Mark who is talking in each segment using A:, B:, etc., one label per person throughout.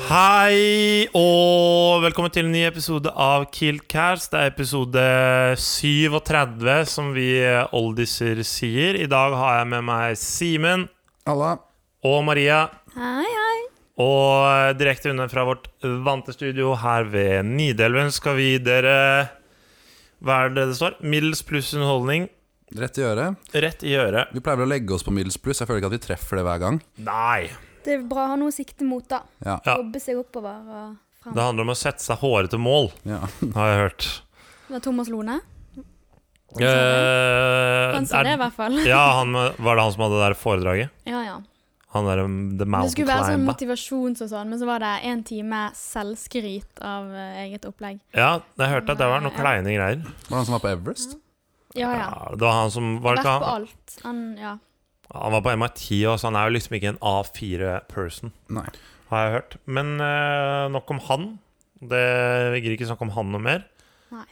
A: Hei og velkommen til en ny episode av Kiltcast. Det er episode 37, som vi eh, oldiser sier. I dag har jeg med meg Simen
B: Halla.
A: og Maria.
C: Hei, hei.
A: Og eh, direkte unna fra vårt vante studio her ved Nidelven skal vi gi dere Hva er det det står? Middels pluss underholdning
B: Rett i øret.
A: rett i øret.
B: Vi pleier vel å legge oss på middels pluss. Jeg føler ikke at vi treffer det hver gang.
A: Nei!
C: Det er bra å ha noe å sikte mot, da.
B: Ja.
A: Ja.
C: Jobbe seg oppover og fram.
A: Det handler om å sette seg hårete mål,
B: ja.
A: har jeg hørt.
C: Det var Thomas Lone.
A: Eh,
C: Han sa
A: er-
C: det, i hvert fall.
A: Ja, han, Var det han som hadde det der foredraget?
C: Ja, ja.
A: Han der um, The
C: Det
A: Mountain
C: skulle være sånn
A: Climber.
C: motivasjons og sånn, men så var det en time selvskryt av eh, eget opplegg.
A: Ja, jeg hørte at det var noen
C: Ja.
A: kleine greier.
B: Var det han som var på Everest?
C: Ja, ja.
A: Ja, det var han som var
C: Vært
A: ikke
C: på
A: han,
C: alt. Han, ja.
A: han var på MIT, og så han er jo liksom ikke en A4-person,
B: Nei.
A: har jeg hørt. Men eh, nok om han. Det vi gidder ikke snakke om han noe mer.
C: Nei.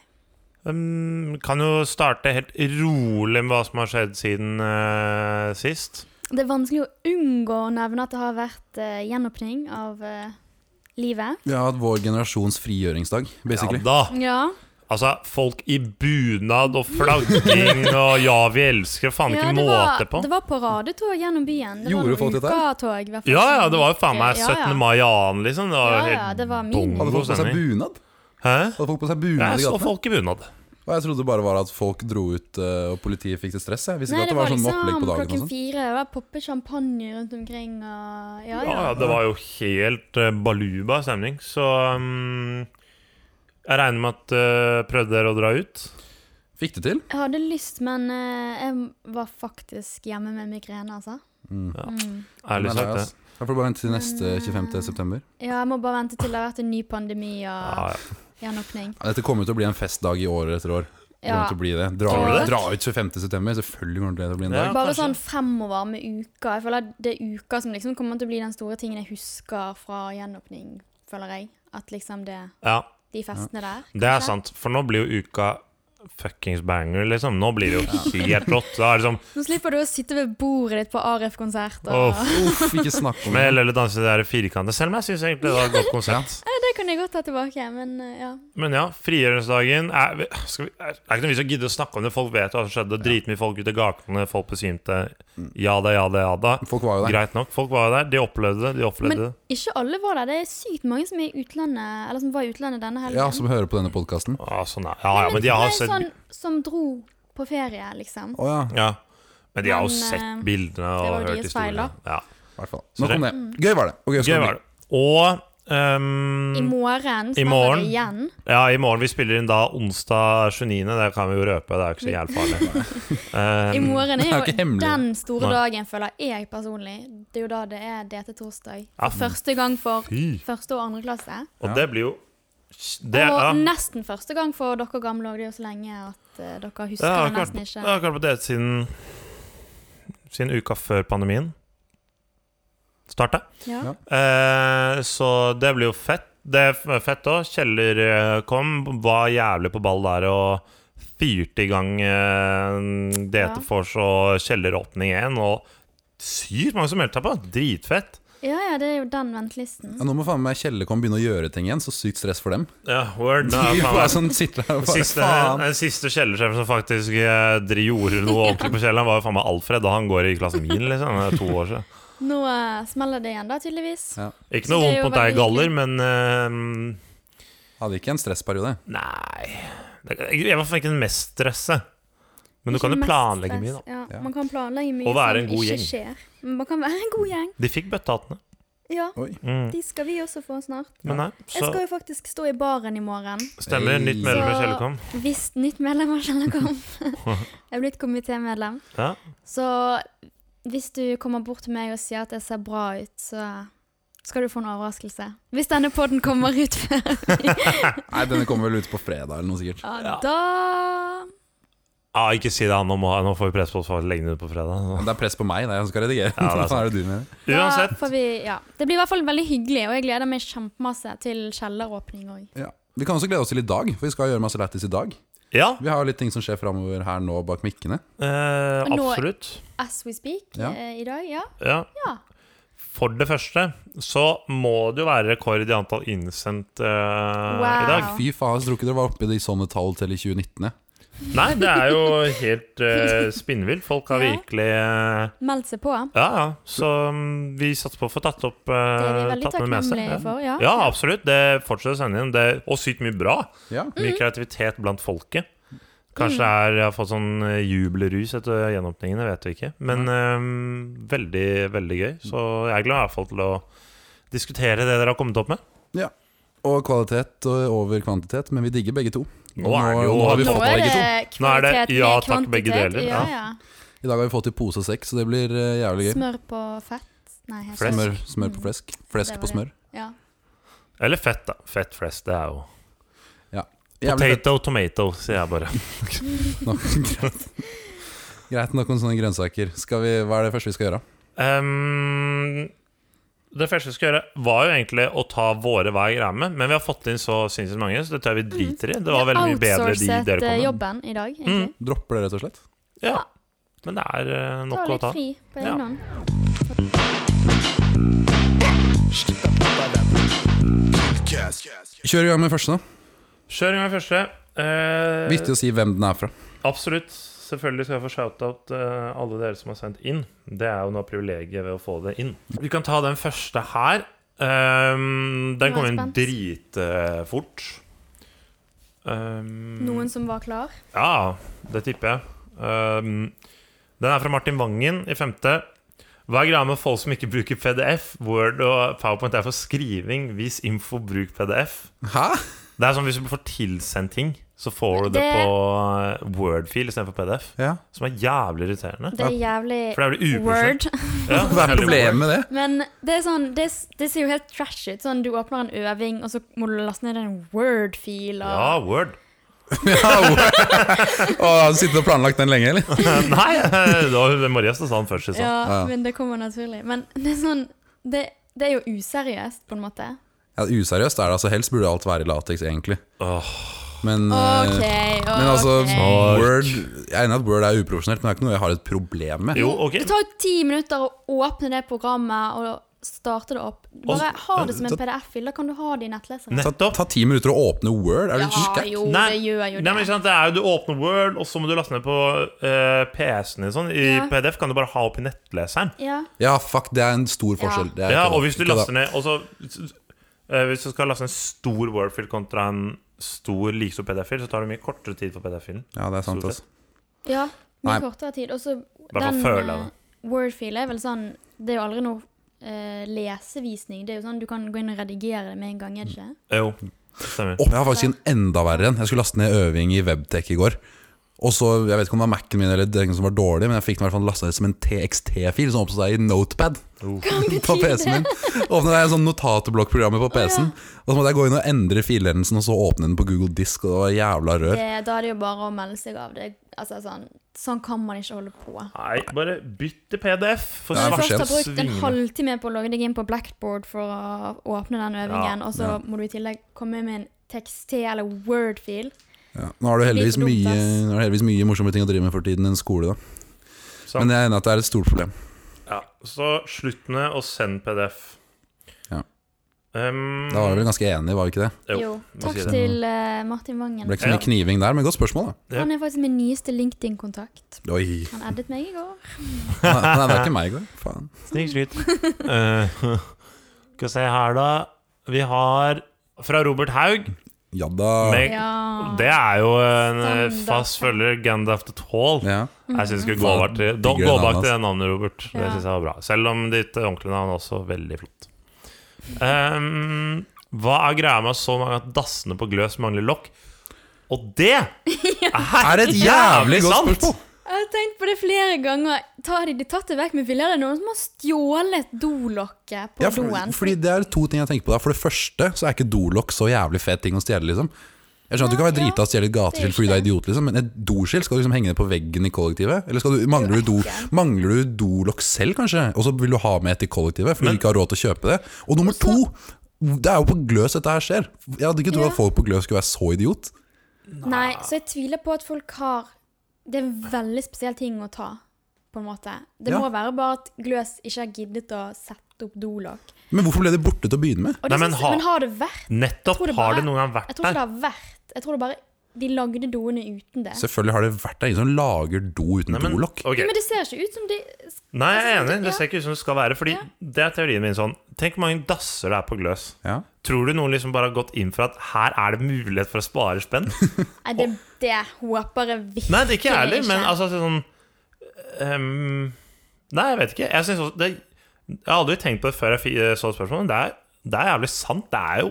A: Um, kan jo starte helt rolig med hva som har skjedd siden eh, sist.
C: Det er vanskelig å unngå å nevne at det har vært eh, gjenåpning av eh, livet.
B: Vi har hatt vår generasjons frigjøringsdag, basically.
A: Ja da!
C: Ja.
A: Altså, folk i bunad og flagging og 'ja, vi elsker' faen ikke
C: ja, det, var,
A: måte på.
C: det var paradetog gjennom byen. Det
B: Gjorde
C: var
B: folk dette her?
C: ukatog, i hvert fall.
A: Ja, ja, det var jo faen meg
C: Ja, ja.
A: 17. mai annen, liksom. Det var jo
C: Ja,
A: helt
C: ja, det var min.
A: bongo
B: Hadde folk på seg
A: stemning.
B: bunad?
A: Hæ?
B: Hadde folk på seg
A: Jeg
B: bunad i
A: så
B: gatene?
A: folk i bunad.
C: Ah,
B: Og jeg trodde det bare var at folk dro ut eh, og politiet fikk det stress. Jeg visste ikke
C: Nei, liksom
B: at det var sånn med opplegg på dagen og
C: klokken
B: sånn.
C: fire. Det var poppet champagne rundt omkring. Og, ja,
A: Ja,
C: ja.
A: ja, det var jo helt eh, baluba stemning. Så mm, jeg regner med at eh, Prøvde dere å dra ut?
B: Fikk det til?
C: Jeg hadde lyst, men eh, jeg var faktisk hjemme med migrene, altså.
A: Ja.
C: Mm.
A: Ærlig
B: Nei, nei,
A: sagt, det.
B: ass. Da får du bare vente til neste
C: Men, eh,
B: 25. september.
C: Ja, jeg må bare vente til det har vært en ny pandemi og
A: Ja, ja.
C: gjenåpning.
B: Ja, Dette kommer jo til å bli en festdag i år etter år. Det
C: Ja.
B: kommer til å bli det. Dra,
C: Tror du det?
B: dra ut 25. september, selvfølgelig kommer det til å bli en
A: Ja.
B: dag.
C: Bare
A: kanskje.
C: sånn fremover med uka. Jeg føler at det er uka som liksom kommer til å bli den store tingen jeg husker fra gjenåpning, føler jeg. At liksom det
A: ja,
C: De festene der.
A: det er
C: kanskje.
A: sant. For nå blir jo uka fuckings banger, liksom. Nå blir det jo helt rått. Da er det sånn
C: Nå slipper du å sitte ved bordet ditt på ARF-konsert. Og...
A: Åh,
B: Uff, ikke snakk om det.
A: med eller danse det der firkantet. Selv om jeg syns egentlig det var et godt konsept.
C: Ja, det kan jeg godt ta tilbake, men eh, ja.
A: Men ja, frigjøringsdagen er, vi- skal vi, er, er ikke noe vits å gidde å snakke om det. Folk vet hva som skjedde. Dritmye folk ute i gatene, folk besvimte. Ja da, ja da, ja da.
B: Folk var jo der.
A: Greit nok. Folk var jo der. De opplevde det. De opplevde
C: Men
A: det.
C: ikke alle var der. Det er sykt mange som er i utlandet Eller som var i utlandet denne helgen.
B: Ja, som hører på denne podkasten.
A: Ja, sånn er. ja, ja, men de har
C: det er
A: sett
C: sånn Som dro på ferie, liksom.
B: Å ja,
A: Ja. Men de har jo
C: Men,
A: sett
C: eh,
A: bildene
C: det var
A: og
C: jo
A: hørt
C: deres feil,
A: historiene. Ja.
B: i hvert fall.
A: Så
B: Nok om det. Gøy var det. Og gøy skal
A: Gøy
B: det bli.
A: var det. Og ehm,
C: I morgen
A: I
C: starter
A: morgen.
C: det igjen.
A: Ja, i morgen. Vi spiller inn da onsdag 29. Det kan vi jo røpe. Det er jo ikke så jævlig farlig.
C: I
A: Ehm,
C: morgen
B: er jo
C: er
B: ikke
C: jo
B: hemmelig.
C: den store
A: Nei.
C: dagen, føler jeg personlig. Det er jo da det er DT-torsdag.
A: Ja. mm.
C: Første gang for
A: Fy.
C: første og andre klasse.
A: og det blir jo det,
C: og
A: ja.
C: nesten første gang for dere gamle òg. Det er jo så lenge at eh, dere husker
A: Ja,
C: det nesten
A: Jeg
C: ikke.
A: har ikke vært på date siden Siden uka før pandemien starta.
C: Ja.
B: Ja.
A: Eh, så det blir jo fett. Det er fett òg. Kjeller eh, kom, var jævlig på ball der og fyrte i gang eh, DT-vors og Kjelleråpning 1. Og sykt mange som meldte seg på. Dritfett.
C: ja, ja, det er jo den ventelisten.
B: Ja, nå må faen meg Kjellekom begynne å gjøre ting igjen. Så sykt stress for dem.
A: Ja, word. Nå,
B: De
A: er
B: bare
A: faen,
B: sånn sitter der og
A: den
B: bare
A: siste,
B: faen.
A: den siste kjellersjefen som faktisk eh, dri- gjorde noe ordentlig på kjelleren, var jo faen meg Alfred, og han går i klassen min, liksom. Det er to år siden.
C: Nå eh, smeller det igjen, da, tydeligvis.
B: Ja.
A: Ikke
C: Så
A: noe
C: det er
A: vondt
C: jo
A: mot deg,
C: veldig hyggelig.
A: Galler, men ehm,
B: Hadde ikke en stressperiode.
A: Nei Det er- Jeg er i hvert fall ikke den mest stressa. Men du kan jo
C: Ikke mest
A: planlegge
C: stress.
A: mye, da.
C: Ja,
B: Ja.
C: Man kan planlegge mye
A: Og være en
C: som
A: god
C: ikke
A: gjeng.
C: skjer. Men Man kan være en god gjeng.
A: De fikk bøttehattene.
C: Ja,
B: Oi.
A: Mm.
C: de skal vi også få snart.
A: Men altså nei,
C: Jeg skal
A: så
C: jo faktisk stå i baren i morgen.
A: stemmer. Nytt medlem i
C: Så-
A: Kjellerkom.
C: Hvis nytt medlem av Kjellerkom. jeg er blitt komitémedlem.
A: Ja.
C: Så hvis du kommer bort til meg og sier at jeg ser bra ut, så skal du få en overraskelse. Hvis denne podden kommer ut før
B: Nei, denne kommer vel ut på fredag eller noe sikkert.
C: ja, da
A: Ah, ikke si det, han. Nå, må, nå får vi press på oss for å legge den ut på fredag.
B: Men det er press på meg, det er jeg som skal redigere.
A: Ja, det er
B: Hva faen er det du mener?
C: Da
A: Uansett.
C: får vi, ja. Det blir i hvert fall veldig hyggelig, og jeg gleder meg kjempemasse til kjelleråpning òg.
B: Ja. Vi kan også glede oss til i dag, for vi skal gjøre masse lættis i dag.
A: Ja,
B: Vi har jo litt ting som skjer framover her nå bak mikkene.
A: eh,
C: Nå-
A: absolutt.
C: As we speak
B: Ja.
C: eh, i dag, ja.
A: Ja.
C: Ja.
A: For det første så må det jo være rekord i antall innsendte eh,
C: Wow.
A: i dag.
B: Fy faen, jeg tror ikke dere var oppe i de sånne tall til i 2019. jeg.
A: Nei, det er jo helt uh, spinnvilt. Folk har
C: Ja.
A: virkelig eh,
C: Meldt seg på.
A: Ja, ja. Så mm, vi satser på å få tatt opp eh,
C: Det er de veldig
A: tatt med meste.
C: takknemlige
A: Ja.
C: for. Ja.
A: Ja, absolutt. Det fortsetter å sende inn. Det, og sykt mye bra.
B: Ja.
C: Mm.
A: Mye kreativitet blant folket. Kanskje det er, jeg har fått sånn eh, jubelrus etter gjenåpningene, vet vi ikke. Men eh, veldig, veldig gøy. Så jeg gleder meg i hvert fall til å diskutere det dere har kommet opp med.
B: ja. Og kvalitet og over kvantitet, men vi digger begge to. Og
A: Nå er det jo-
B: nå har vi
C: Nå
B: fått
C: er
B: begge
C: det
B: to.
A: Nå er det
C: kvalitet
A: ja
C: med
A: takk,
C: kvantitet.
A: begge deler,
C: Ja,
A: ja.
C: ja.
B: I dag har vi fått i pose sekk, så det blir eh, jævlig gøy.
C: Smør på fett. Nei, helt
A: Flesk.
B: Smør, smør på flesk.
C: Det
B: Flesk
C: var
B: på
C: det.
B: smør.
C: Ja.
A: Eller fett, da. Fett flest, det er jo
B: Jævlig
A: Potato, tomato, sier jeg bare.
B: fett. Nå- Greit. Greit nok om sånne grønnsaker. Skal vi, hva er det første vi skal gjøre?
A: Ehm, det første vi skal gjøre, var jo egentlig å ta våre hver greie med, men vi har fått inn så sinnssykt mange, så det tror jeg vi driter i. Det var veldig mye bedre de
C: Mm. Outsourcet
A: dere
C: eh,
A: kom med. Mm.
C: jobben i dag, egentlig.
B: Dropper det, rett og slett?
A: Ja. Men det er eh,
C: Ta
A: nok å
C: litt
A: ta.
C: fri på
A: Ja.
C: egen hånd.
B: Kjør i gang med første, da.
A: Kjør i gang med første. Eh,
B: Viktig å si hvem den er fra.
A: Absolutt. Selvfølgelig skal jeg få shout-out eh, alle dere som har sendt inn. Det er jo noe av privilegiet ved å få det inn. Vi kan ta den første her. Ehm, den
C: Nå
A: kom
C: er jeg
A: inn
C: spent.
A: dritfort. Um,
C: Noen som var klar?
A: Ja, det tipper jeg. Ehm, den er fra Martin Vangen i femte. Hva er greia med folk som ikke bruker PDF? Word og Powerpoint er for skriving. Vis info, bruk PDF.
B: Hæ?
A: Det er sånn Hvis du får tilsendt ting, så får du det,
C: Det-
A: på eh, Word-fil istedenfor PDF.
B: Ja.
A: Som er jævlig irriterende.
C: Det er jævlig
A: For det blir uprosent.
C: word.
A: Ja,
B: Hva er problemet med det?
C: Men det er sånn, det, det ser jo helt trash ut. Sånn, du åpner en øving, og så må du laste ned en Word-fil. og-
A: Ja, Word.
B: Ja, Å, har du sittet og planlagt den lenge, eller?
A: Nei, det var Maria som sa den først. Liksom.
C: Ja,
B: Ja.
C: men det kommer naturlig. Men det er sånn Det, det er jo useriøst, på en måte.
B: Ja, useriøst er det. altså Helst burde alt være i lateks, egentlig.
A: Åh,
B: Men,
A: Mm.
B: eh,
C: OK, OK.
B: men altså,
A: ok.
B: Word Jeg er enig i at Word er uprofesjonelt, men det er ikke noe jeg har et problem med.
A: Jo, ok.
C: Det tar jo ti minutter å åpne det programmet og starte det opp. Bare
A: Og-
C: ha det som en PDF-fil. Da kan du ha det i nettleseren.
A: Nettopp.
B: Ta ti minutter å åpne Word? Er du
C: Ja,
B: skakk?
C: jo, det gjør jo
A: Nei, men
C: det.
A: ikke sant? det er jo Du åpner Word, og så må du laste ned på eh, PC-en din. Sånn. I
C: Ja.
A: PDF kan du bare ha opp i nettleseren.
C: Ja.
B: Ja, fuck, det er en stor forskjell. Det er
A: Ja,
B: ikke
A: og
B: det.
A: hvis du
B: Ikke det.
A: laster ned og så, eh, Hvis du skal laste en stor Wordfil kontra en stor likeså PDF-fil, så tar det mye kortere tid for PDF-filen.
B: Ja, det er sant,
A: Stort
B: altså.
A: sett.
C: ja
B: Nei.
C: mye kortere tid. Og så
A: hvert fall
C: den
A: føler jeg
C: eh, Word-filen er vel sånn Det er jo aldri noe eh, lesevisning. Det er jo sånn Du kan gå inn og redigere det med en gang, er det ikke?
A: Jo, stemmer.
B: Åh, jeg har faktisk en enda verre en. Jeg skulle laste ned øving i Webtech i går. Og så, Jeg vet ikke om det var Mac-en min eller den som var dårlig, men jeg fikk den i hvert fall lasta ned som en TXT-fil som oppstod i Notepad på PC-en min. Åpnet jeg en sånn notatblokkprogrammet på PC-en, og så måtte jeg gå inn og endre filhendelsen, og så åpne den på Google Disk, og det var jævla rør.
C: Det, da er det jo bare å melde seg av. Det, altså, sånn, sånn kan man ikke holde på.
A: Nei, bare bytt til PDF. For
B: Det er
C: Når du
B: for
A: svarte
C: først har
B: sent.
C: brukt en
A: svingene.
C: halvtime på å logge deg inn på Blackboard for å åpne den øvingen, og så må du i tillegg komme med en tekst til eller Word-fil.
B: Ja. Nå har du heldigvis
C: Det blir for dumt,
B: mye,
C: ass.
B: nå har du heldigvis mye morsomme ting å drive med for tiden enn skole, da.
A: Sant.
B: Men jeg er enig i at det er et stort problem.
A: Ja, så slutt med å sende PDF.
B: Ja.
A: Um,
B: Da var vi vel ganske enige, var vi ikke det?
A: Jo,
C: Jo.
A: må
C: Takk
A: si det.
C: til eh, Martin
B: Det
C: Vangen.
B: ble ikke så mye kniving der, men godt spørsmål, da.
A: Ja.
C: Han er faktisk min nyeste LinkedIn-kontakt.
B: Oi.
C: Han addet meg i går.
B: Nei, nei, det er ikke meg i går. Faen.
A: Snikskryt. Eh, Skal vi se her, da. Vi har fra Robert Haug.
B: Ja da.
A: Meg,
C: Ja.
A: Det er jo en eh,
C: Standard.
A: fast følger, Gandalf the Tall.
B: Ja.
A: Jeg syns vi skal gå,
B: Faen,
A: over til, da,
B: digger
A: gå bak
B: det navnet, altså.
A: til det navnet, Robert. Det
C: Ja.
A: synes jeg var bra. Selv om ditt ordentlige navn er også veldig flott. Ehm, hva er greia med så mange at dassene på Gløs mangler lokk? Og det
B: Er
A: er
B: et jævlig godt
A: sant!
B: spørsmål!
C: Jeg har tenkt på det flere ganger. Tar de de tatt det vekk med vilje? Er det noen som har stjålet dolokket på
B: Ja, for,
C: doen?
B: fordi Det er to ting jeg tenker på. Da. For det første så er ikke dolokk så jævlig fet ting å stjele. liksom Jeg skjønner at Du kan være
C: Nei, ja.
B: drita og stjele et gateskilt fordi du er idiot, liksom men et doskilt skal du liksom henge det på veggen i kollektivet? Eller skal du, mangler, du do, mangler du dolokk selv, kanskje? Og så vil du ha med et i kollektivet fordi
A: Men-
B: du ikke har råd til å kjøpe det? Og nummer to, det er jo på gløs dette her skjer. Jeg hadde ikke trodd
C: Ja.
B: at folk på gløs skulle være så idiot.
A: Ah.
C: Nei, så jeg tviler på at folk har Det er en veldig spesiell ting å ta. på en måte. Det
B: Ja.
C: må være bare at Gløs ikke har giddet å sette opp dolokk.
B: Men hvorfor ble det borte til å begynne med?
C: Og
A: Nei,
C: det
A: men
C: synes-
A: ha-
C: men har det vært? Jeg
A: Nettopp!
C: tror det
A: Har
C: bare-
A: det noen gang vært
C: Jeg tror
A: der?
C: ikke det har vært. Jeg tror det bare de lagde doene uten det.
B: Selvfølgelig har det vært der ingen som lager do uten
A: Nei, men-
B: dolokk.
A: ok.
C: Men det ser ikke ut som de
A: Nei, jeg er enig. Det
C: Altså, Ja.
A: ser ikke ut som det skal være. Fordi
C: Ja.
A: det er teorien min sånn. Tenk hvor mange dasser det er på Gløs.
B: Ja.
A: Tror du noen liksom bare har gått inn for at her er det mulighet for å spare spenn?
C: Nei, det, det håper jeg virkelig
A: Nei, det er ikke jeg heller,
C: ikke.
A: men altså sånn ehm, Nei, jeg vet ikke. Jeg, synes også, det, jeg har aldri tenkt på det før jeg fi- så spørsmålet, men det er, det er jævlig sant. Det er jo,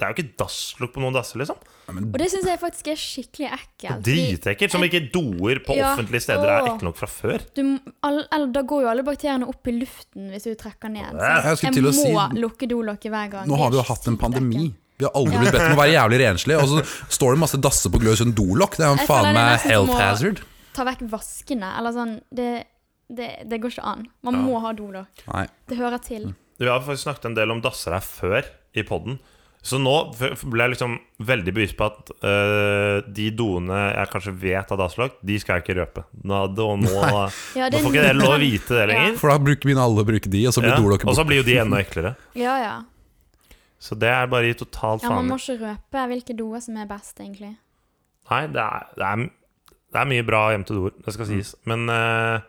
A: det er jo ikke dasslukt på noen dasser, liksom.
C: Og det syns jeg faktisk er skikkelig ekkelt. fordi
A: Dritekkelt. Som ikke doer på
C: Altså, Ja.
A: offentlige steder er
C: Åh.
A: ekle nok fra før.
C: Du, m- all, all, da går jo alle bakteriene opp i luften hvis du trekker ned. Så
B: Jeg skulle til å
C: må
B: si-
C: lukke dolokket hver gang.
B: Nå har vi jo hatt en pandemi. Vi har aldri blitt bedt om å være jævlig renslige, og så står det masse dasser på Gløs uten dolokk. Det er jo
C: Jeg
B: en faen
C: føler det er
B: meg
C: nesten som
B: health
C: å-
B: hazard.
C: Ta vekk vaskene. Eller sånn Det, det, det går ikke an. Man må ha dolokk.
B: Nei.
C: Det hører til.
A: Vi har faktisk snakket en del om dasser her før i podden. Så nå f- ble jeg liksom veldig bevisst på at øh, de doene jeg kanskje vet av dasslagt, de skal jeg ikke røpe. Nå, da, nå, da
C: Ja, det er
A: får ikke dere lov å
C: en-
A: vite det lenger.
B: For da bruker begynner alle å bruke de, og så blir
A: Ja,
B: dolokket
A: Og så
B: borte.
A: blir jo de enda eklere.
C: Ja, ja.
A: Så det er bare å gi totalt
C: ja man
A: faen.
C: må ikke røpe hvilke doer som er best, egentlig.
A: Nei, det er, det, er, det er mye bra gjemte doer, det
B: Mm.
A: skal sies. Men eh,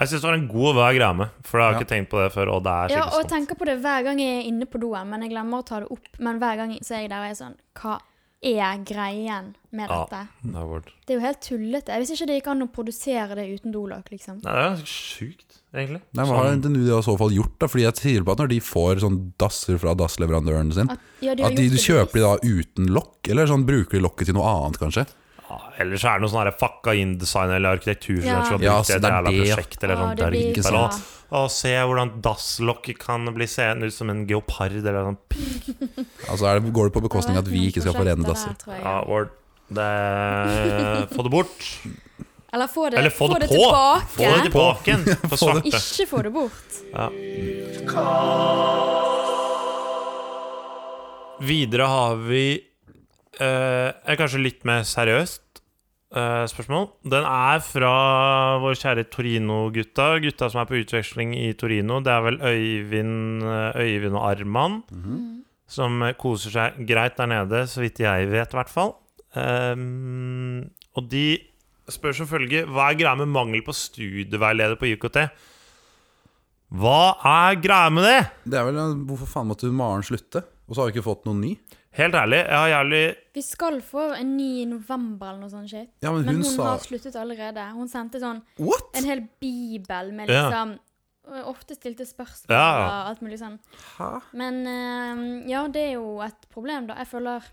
A: jeg syns det var en god og vær greie med, for jeg har
B: Ja.
A: ikke tenkt på det før. Og det er
C: Ja,
A: skikkelig
C: og
A: sant.
C: jeg tenker på det hver gang jeg er inne på doen, men jeg glemmer å ta det opp. Men hver gang så er jeg der og er sånn Hva er greien med
A: Ja.
C: dette?
A: Det er vårt.
C: Det er jo helt tullete. Jeg visste ikke det gikk an å produsere det uten dolokk, liksom.
A: Nei, det er ganske sjukt, egentlig.
B: Nei, hva har
A: Sånn-
B: NTNU i så fall gjort? da? Fordi jeg tviler på at når de får sånn dasser fra dassleverandøren sin,
C: At, ja,
B: at
C: har
B: de,
C: gjort
B: du
C: det
B: kjøper de
C: bevisst.
B: da uten lokk? Eller sånn bruker de lokket til noe annet, kanskje?
A: ja, ellers er det noe sånn her fucka inn-design eller arkitektur
C: Ja.
A: som har
B: Ja,
A: brukt
B: så
A: det i et
B: det er
A: jævla
B: det, ja.
A: prosjekt. Eller
C: Ja,
A: sånn,
C: det
A: der,
C: blir
A: ikke
C: bra.
A: sant? Å, se hvordan dasslokket kan bli seende ut som en geopard eller noe sånt.
B: Altså er det, Går det på bekostning av at vi ikke skal få altså. rene
C: Prosjekter der,
B: dasser?
C: tror jeg.
A: Ja, vårt. Det, få det bort.
C: Eller få det,
A: Eller få det på.
C: tilbake.
A: Få det tilbake igjen, for
B: Få det-
A: svarte.
C: Ikke få det bort.
A: Videre har vi eh, et kanskje litt mer seriøst eh, spørsmål. Den er fra vår kjære Torino-gutta. Gutta som er på utveksling i Torino. Det er vel Øyvind, eh, Øyvind og Arman som eh, koser seg greit der nede, så vidt jeg vet, i hvert fall. Ehm, og de spør som følge Hva er greia med mangel på studieveileder på IKT? Hva er greia med det?
B: Det er vel Hvorfor faen måtte Maren slutte? Og så har vi ikke fått noen ny?
A: Helt ærlig, jeg har jævlig
C: Vi skal få en ny i november eller noe sånt shit.
B: Ja, men
C: Men
B: hun,
C: hun
B: sa
C: har sluttet allerede. Hun sendte sånn
B: What?!
C: en hel bibel med
A: Ja.
C: liksom og Ofte stilte spørsmål
A: Ja.
C: og alt mulig sånn.
B: Hæ?
C: Men eh, ja, det er jo et problem, da. Jeg føler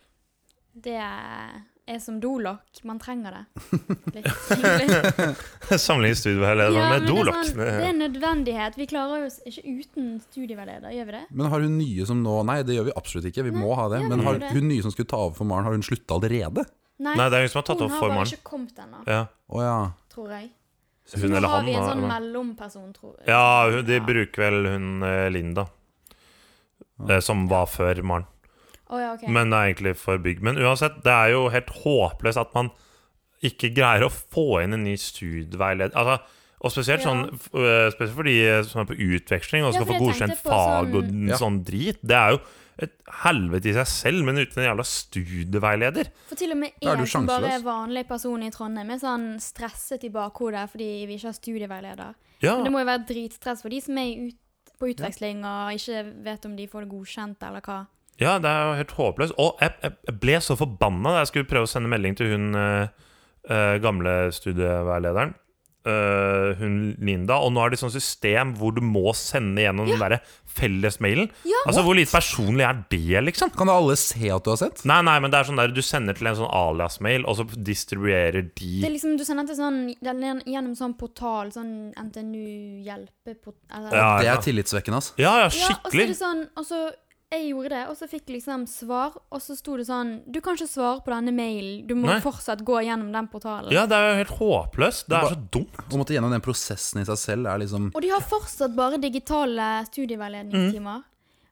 C: det er som dolokk. Man trenger det. Litt, egentlig.
A: Sammenlignet studieveilederen
C: Ja, men
A: med
C: det er
A: Dolok.
C: sånn- Det er en nødvendighet. Vi klarer oss ikke uten studieveileder, gjør vi det?
B: Men har hun nye som nå Nei, det gjør vi absolutt ikke. Vi må ha det.
C: ja,
B: Men
C: vi
B: har
C: gjør det.
B: hun nye som skulle ta over for Maren, har hun slutta allerede?
A: Nei, det er hun som har tatt
C: hun
A: over
C: har
A: for
C: bare
A: Maren.
C: ikke kommet ennå,
A: Ja.
B: Å ja.
C: tror jeg. Så
A: Hun
C: nå
A: eller
C: har
A: han.
C: vi en
A: da,
C: sånn
A: eller-
C: mellomperson, tror jeg.
A: Ja, hun, de
C: Ja.
A: bruker vel hun eh, Linda. Eh, Som var før Maren.
C: Å, ja, ok.
A: Men det er egentlig for bygg. Men uansett, det er jo helt håpløst at man ikke greier å få inn en ny studieveileder. Altså, og spesielt,
C: Ja.
A: sånn, f- eh, spesielt for de som er på utveksling og
C: Ja,
A: skal
C: for
A: få
C: jeg tenkte
A: godkjent
C: på
A: fag og
C: sånn-
B: Ja.
A: sånn drit. Det er jo et helvete i seg selv, men uten en jævla studieveileder.
C: For til og med
B: Da er du
C: jeg som bare er
B: sjanseløs.
C: vanlig person i Trondheim, er sånn stresset i bakhodet fordi vi ikke har studieveileder.
A: Ja,
C: Men det må jo være dritstress for de som er ut, på utveksling og ikke vet om de får det godkjent eller hva.
A: Ja, det er jo helt håpløst. Og jeg, jeg, jeg ble så forbanna da jeg skulle prøve å sende melding til hun eh, eh, gamle studieveilederen. eh, hun Linda. Og nå er det sånn system hvor du må sende gjennom den derre fellesmailen. altså, hvor lite personlig er det, liksom?
B: Kan da alle se at du har sett?
A: Nei, nei, men det er sånn der du sender til en sånn alias-mail, og så distribuerer
C: Det
A: de
C: er liksom, Du sender til sånn, den er gjennom sånn portal, sånn NTNU-hjelpeportal.
A: Ja,
B: Det
A: ja.
B: er tillitvekkende, ass.
A: Ja, ja,
C: Ja, og så er
A: skikkelig.
C: det sånn, og så jeg gjorde det, og så fikk liksom svar, og så sto det sånn Du kan ikke svare på denne mailen, du må
A: Nei.
C: fortsatt gå gjennom den portalen.
A: Ja, det er jo helt håpløst. Det er så dumt.
B: Å måtte gjennom den prosessen i seg selv er liksom
C: Og de har fortsatt bare digitale
A: Mm.
C: studieveiledningstimer.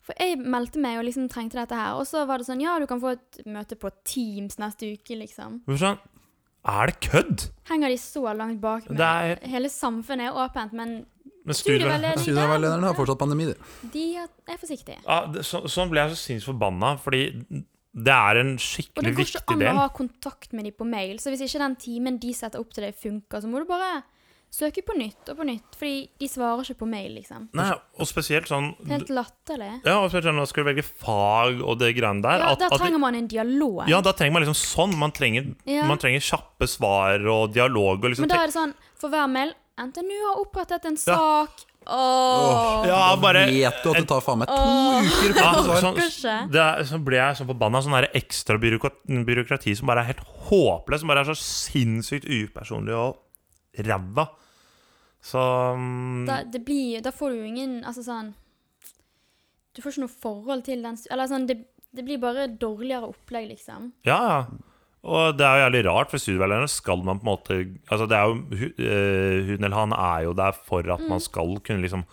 C: For jeg meldte meg og liksom trengte dette her, og så var det sånn Ja, du kan få et møte på Teams neste uke, liksom.
A: Hvorfor sånn? Er det kødd?!
C: Henger de så langt bak? med-
A: Det er-
C: Hele samfunnet er åpent, men
A: Men studie-
C: studieveiledning
B: Studieveilederne har fortsatt pandemi, de.
C: De er- er forsiktige.
A: Ja, det, så, sånn ble jeg så sinnssykt forbanna, fordi det er en
C: Og det
A: skikkelig
C: går ikke
A: viktig
C: an å
A: del.
C: ha kontakt med de på mail, så hvis ikke den timen de setter opp til deg funker, så må du bare søke på nytt og på nytt, fordi de svarer ikke på mail, liksom.
A: Nei, og spesielt sånn
C: Det er helt latterlig.
A: Ja, og spesielt når man skal velge fag og det greiene der.
C: Ja,
A: at-
C: da
A: at
C: trenger man en dialog.
A: ja, da trenger man liksom sånn. Man trenger,
C: Ja.
A: man trenger kjappe svar og dialog. Og liksom,
C: Men da er det sånn, for hver mail NTNU har opprettet en
A: Ja.
C: sak. Åh,
A: ja, bare
B: Vet du at det tar faen meg to uker på
A: ja,
B: å svare?
A: sånn,
C: Kanskje.
A: det er, så ble jeg så forbanna. Sånn der ekstra byråkrati, byråkrati som bare er helt håpløs. Som bare er så sinnssykt upersonlig og ræva. Så mm,
C: da, det blir, da får du jo ingen Altså sånn Du får ikke noe forhold til den stu- Eller sånn, det, det blir bare dårligere opplegg, liksom.
A: Ja, ja. Og det er jo jævlig rart, for studieveilederne skal man på en måte Altså, det er jo hu- eh, Hun eller han er jo der for at man skal kunne liksom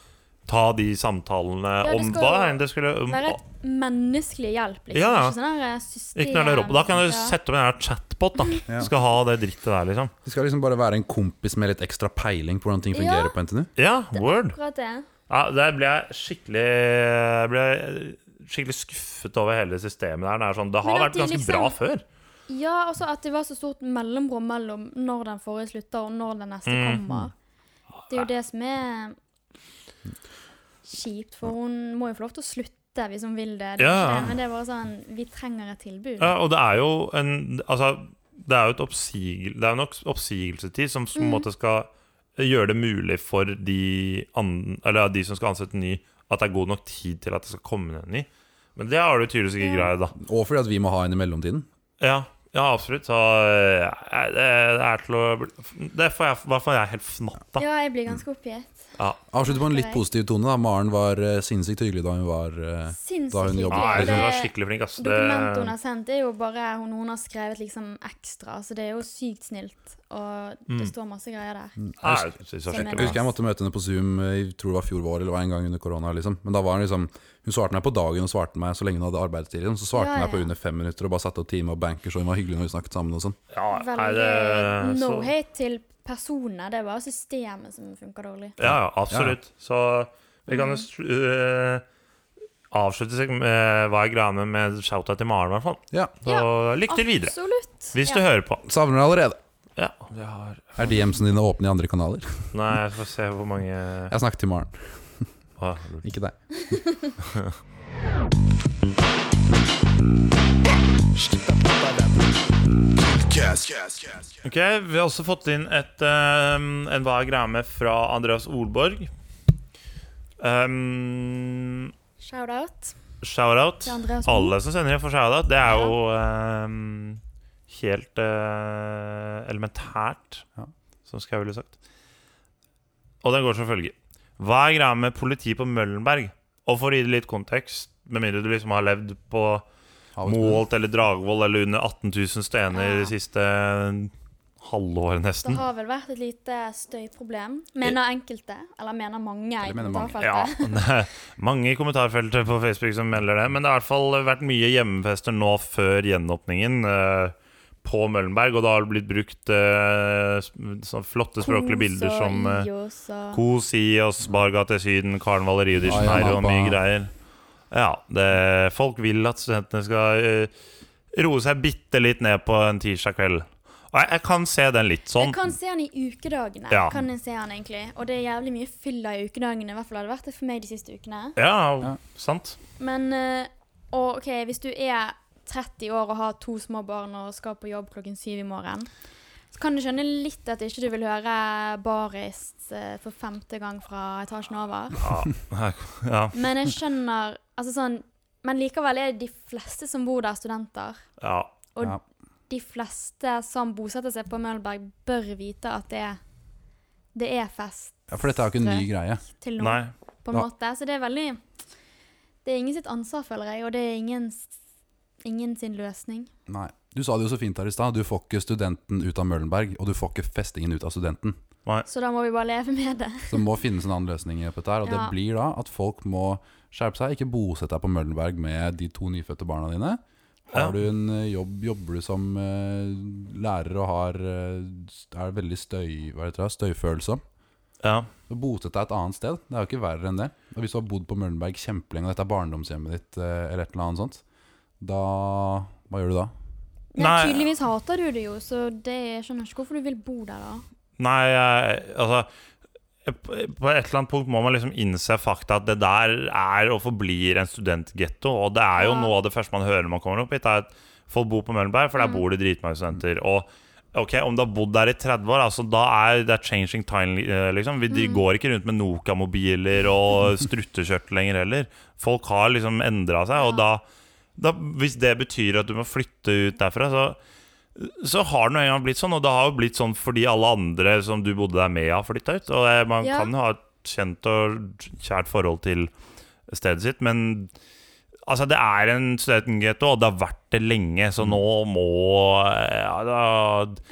A: ta de samtalene
C: Mm. Ja, det
A: om
C: skal
A: hva
C: jo
A: enn det skulle om,
C: Være et menneskelig hjelp, liksom.
A: Mm. Ja, ja.
C: Ikke sånn der system
A: Ikke noe der oppe. Da kan du
C: ja.
A: sette opp en jævla chatbot, da.
B: Ja.
A: Skal ha det drittet der, liksom.
B: De skal liksom bare være en kompis med litt ekstra peiling på hvordan ting fungerer
C: Ja.
B: på NTNU.
A: Ja, word.
C: Akkurat det.
A: Ja, der ble jeg skikkelig ble jeg skikkelig skuffet over hele systemet der. Det, er sånn, det
C: Men
A: har
C: at
A: vært
C: de
A: ganske
C: liksom-
A: bra før.
C: Ja, også at det var så stort mellomrom mellom når den forrige slutter, og når den
A: Mm.
C: neste kommer. Det er jo det som er kjipt, for hun må jo få lov til å slutte hvis hun vil det. det er
A: Ja,
C: ikke
A: ja.
C: det, Men det er bare sånn Vi trenger et tilbud.
A: Ja, og det er jo en Altså, det er jo et oppsigel, det er en opps- oppsigelsestid som på en måte skal gjøre det mulig for de, an, eller de som skal ansette en ny, at det er god nok tid til at det skal komme en ny. Men det har du tydeligvis ikke
C: Ja.
A: greid, da.
B: Og fordi at vi må ha en i mellomtiden.
A: Ja, ja absolutt. Så eh, det det er til å bli- Det får jeg, i hvert fall jeg helt fnatt av.
C: Ja, jeg blir ganske oppgitt.
A: Ja.
B: Avslutte på en litt
C: Ok.
B: positiv tone. da Maren var eh, sinnssykt hyggelig da hun var eh, Da hun
C: Sinnssykt
B: jobber.
A: Ja, jeg synes
C: hyggelig.
A: det var
C: Det
A: skikkelig flink, ass. Det,
C: dokumentet hun har sendt, er jo bare hun, hun har skrevet liksom ekstra, så det er jo sykt snilt. Og
A: Mm.
C: det står masse greier der.
B: Mm.
A: Ja, jeg synes det var skikkelig
B: Jeg husker
A: bra.
B: jeg måtte møte henne på Zoom eh, jeg tror det var fjor vår eller det var en gang under korona. Liksom. Men da var hun liksom Hun svarte meg på dagen og svarte meg så lenge hun hadde arbeidstid. Liksom. Så svarte
C: Ja,
B: hun meg på
C: ja.
B: under fem minutter og bare satte opp time og banker, så hun var hyggelig når vi snakket sammen og sånn.
A: Ja, nei,
C: Veldig
A: det-
C: no
A: så-
C: hate til personene, det er bare systemet som funker dårlig.
A: Ja, ja, absolutt. Så vi kan jo sl- øh, avslutte seg med hva er greia med- med shout-out til Maren, i hvert fall.
B: Ja.
A: Så lykke til videre,
C: Absolutt.
A: hvis du
C: Ja.
A: hører på.
B: Savner deg allerede.
A: Ja, jeg har
B: Er DMs-ene dine åpne i andre kanaler?
A: Nei, jeg får se hvor mange ja.
B: Jeg snakket til Maren,
A: Hva
B: ikke deg.
A: Ok, Vi har også fått inn et, ehm, en Hva er greia med fra Andreas Olborg. Um,
C: Shout-out
A: shout-out.
C: til Andreas Moe.
A: Alle som sender inn, får shout-out. Det er jo ehm, helt eh, elementært,
B: Ja.
A: som skal jeg ville sagt. Og den går som følger. Hva er greia med politi på Møllenberg? Og for å gi det litt kontekst, med mindre du liksom har levd på Målt eller Dragvoll eller under 18 000 stener
C: Ja.
A: de siste eh, halvåret,
C: Det
A: nesten.
C: har vel vært et lite støyproblem, mener enkelte. Eller mener mange. i
B: Eller mener mange.
C: kommentarfeltet.
A: Ja, det er mange i kommentarfeltet på Facebook som melder det. Men det har i hvert fall vært mye hjemmefester nå før gjenåpningen eh, på Møllenberg. Og da har det blitt brukt eh, s- sånne flotte språklige bilder som eh,
C: Kos og
A: Kos i oss, Bargate Syden, Karneval i Rio de
B: Ja, ja,
A: Janeiro og
B: mamma.
A: mye greier. Ja, det, folk vil at studentene skal eh, roe seg bitte litt ned på en tirsdag kveld. Og jeg, jeg kan se den litt sånn.
C: Jeg kan se han i ukedagene.
A: Ja.
C: Kan jeg se han egentlig Og det er jævlig mye fylla i ukedagene. I hvert fall har det vært det for meg de siste ukene.
A: Ja,
B: Ja.
A: sant.
C: Men eh, og, OK, hvis du er 30 år og har to små barn og skal på jobb klokken syv i morgen, så kan du skjønne litt at ikke du vil høre Barist eh, for femte gang fra etasjen over.
A: Ja. ja.
C: Men jeg skjønner Altså sånn Men likevel er de fleste som bor der, studenter.
A: ja.
C: Og
B: Ja.
C: de fleste som bosetter seg på Møllenberg, bør vite at det er, det er fest
B: Ja, for dette er jo ikke en ny greie.
C: til nå,
A: Nei.
C: på en
B: Ja.
C: måte. Så det er veldig Det er ingen sitt ansvar, føler jeg, og det er ingen, s- ingen sin løsning.
B: Nei. Du sa det jo så fint her i stad. Du får ikke studenten ut av Møllenberg, og du får ikke festingen ut av studenten.
C: Så da må vi bare leve med det.
B: Så det må finnes en annen løsning på dette her, og det
C: Ja.
B: blir da at folk må skjerpe seg, ikke bosette deg på Møllenberg med de to nyfødte barna dine. Har
A: Ja.
B: du en eh, jobb, jobber du som eh, lærer og har, eh, er veldig støy, hva heter det, støyfølsom,
A: Ja.
B: så botet deg et annet sted. Det er jo ikke verre enn det. Og hvis du har bodd på Møllenberg kjempelenge, og dette er barndomshjemmet ditt, eh, eller et eller annet sånt, da Hva gjør du da?
C: Men
A: Nei.
C: tydeligvis hater du det jo, så det jeg skjønner ikke hvorfor du vil bo der da.
A: Nei, jeg- altså på et eller annet punkt må man liksom innse fakta at det der er og forblir en studentgetto. Og det er jo
C: Ja.
A: noe av det første man hører når man kommer opp hit, er at folk bor på Møllenberg, for der bor det dritmange studenter. Og ok, om du har bodd der i 30 år, altså da er det er changing time, eh, liksom. Vi de går ikke rundt med Noka-mobiler og struttekjørt lenger heller. Folk har liksom endra seg, og da, da Hvis det betyr at du må flytte ut derfra, så så har det nå en gang blitt sånn, og det har jo blitt sånn fordi alle andre som du bodde der med, har flytta ut. Og eh, man
C: Ja.
A: kan jo ha et kjent og kjært forhold til stedet sitt, men altså, det er en studentgetto, og det har vært det lenge, så nå må eh, ja, da,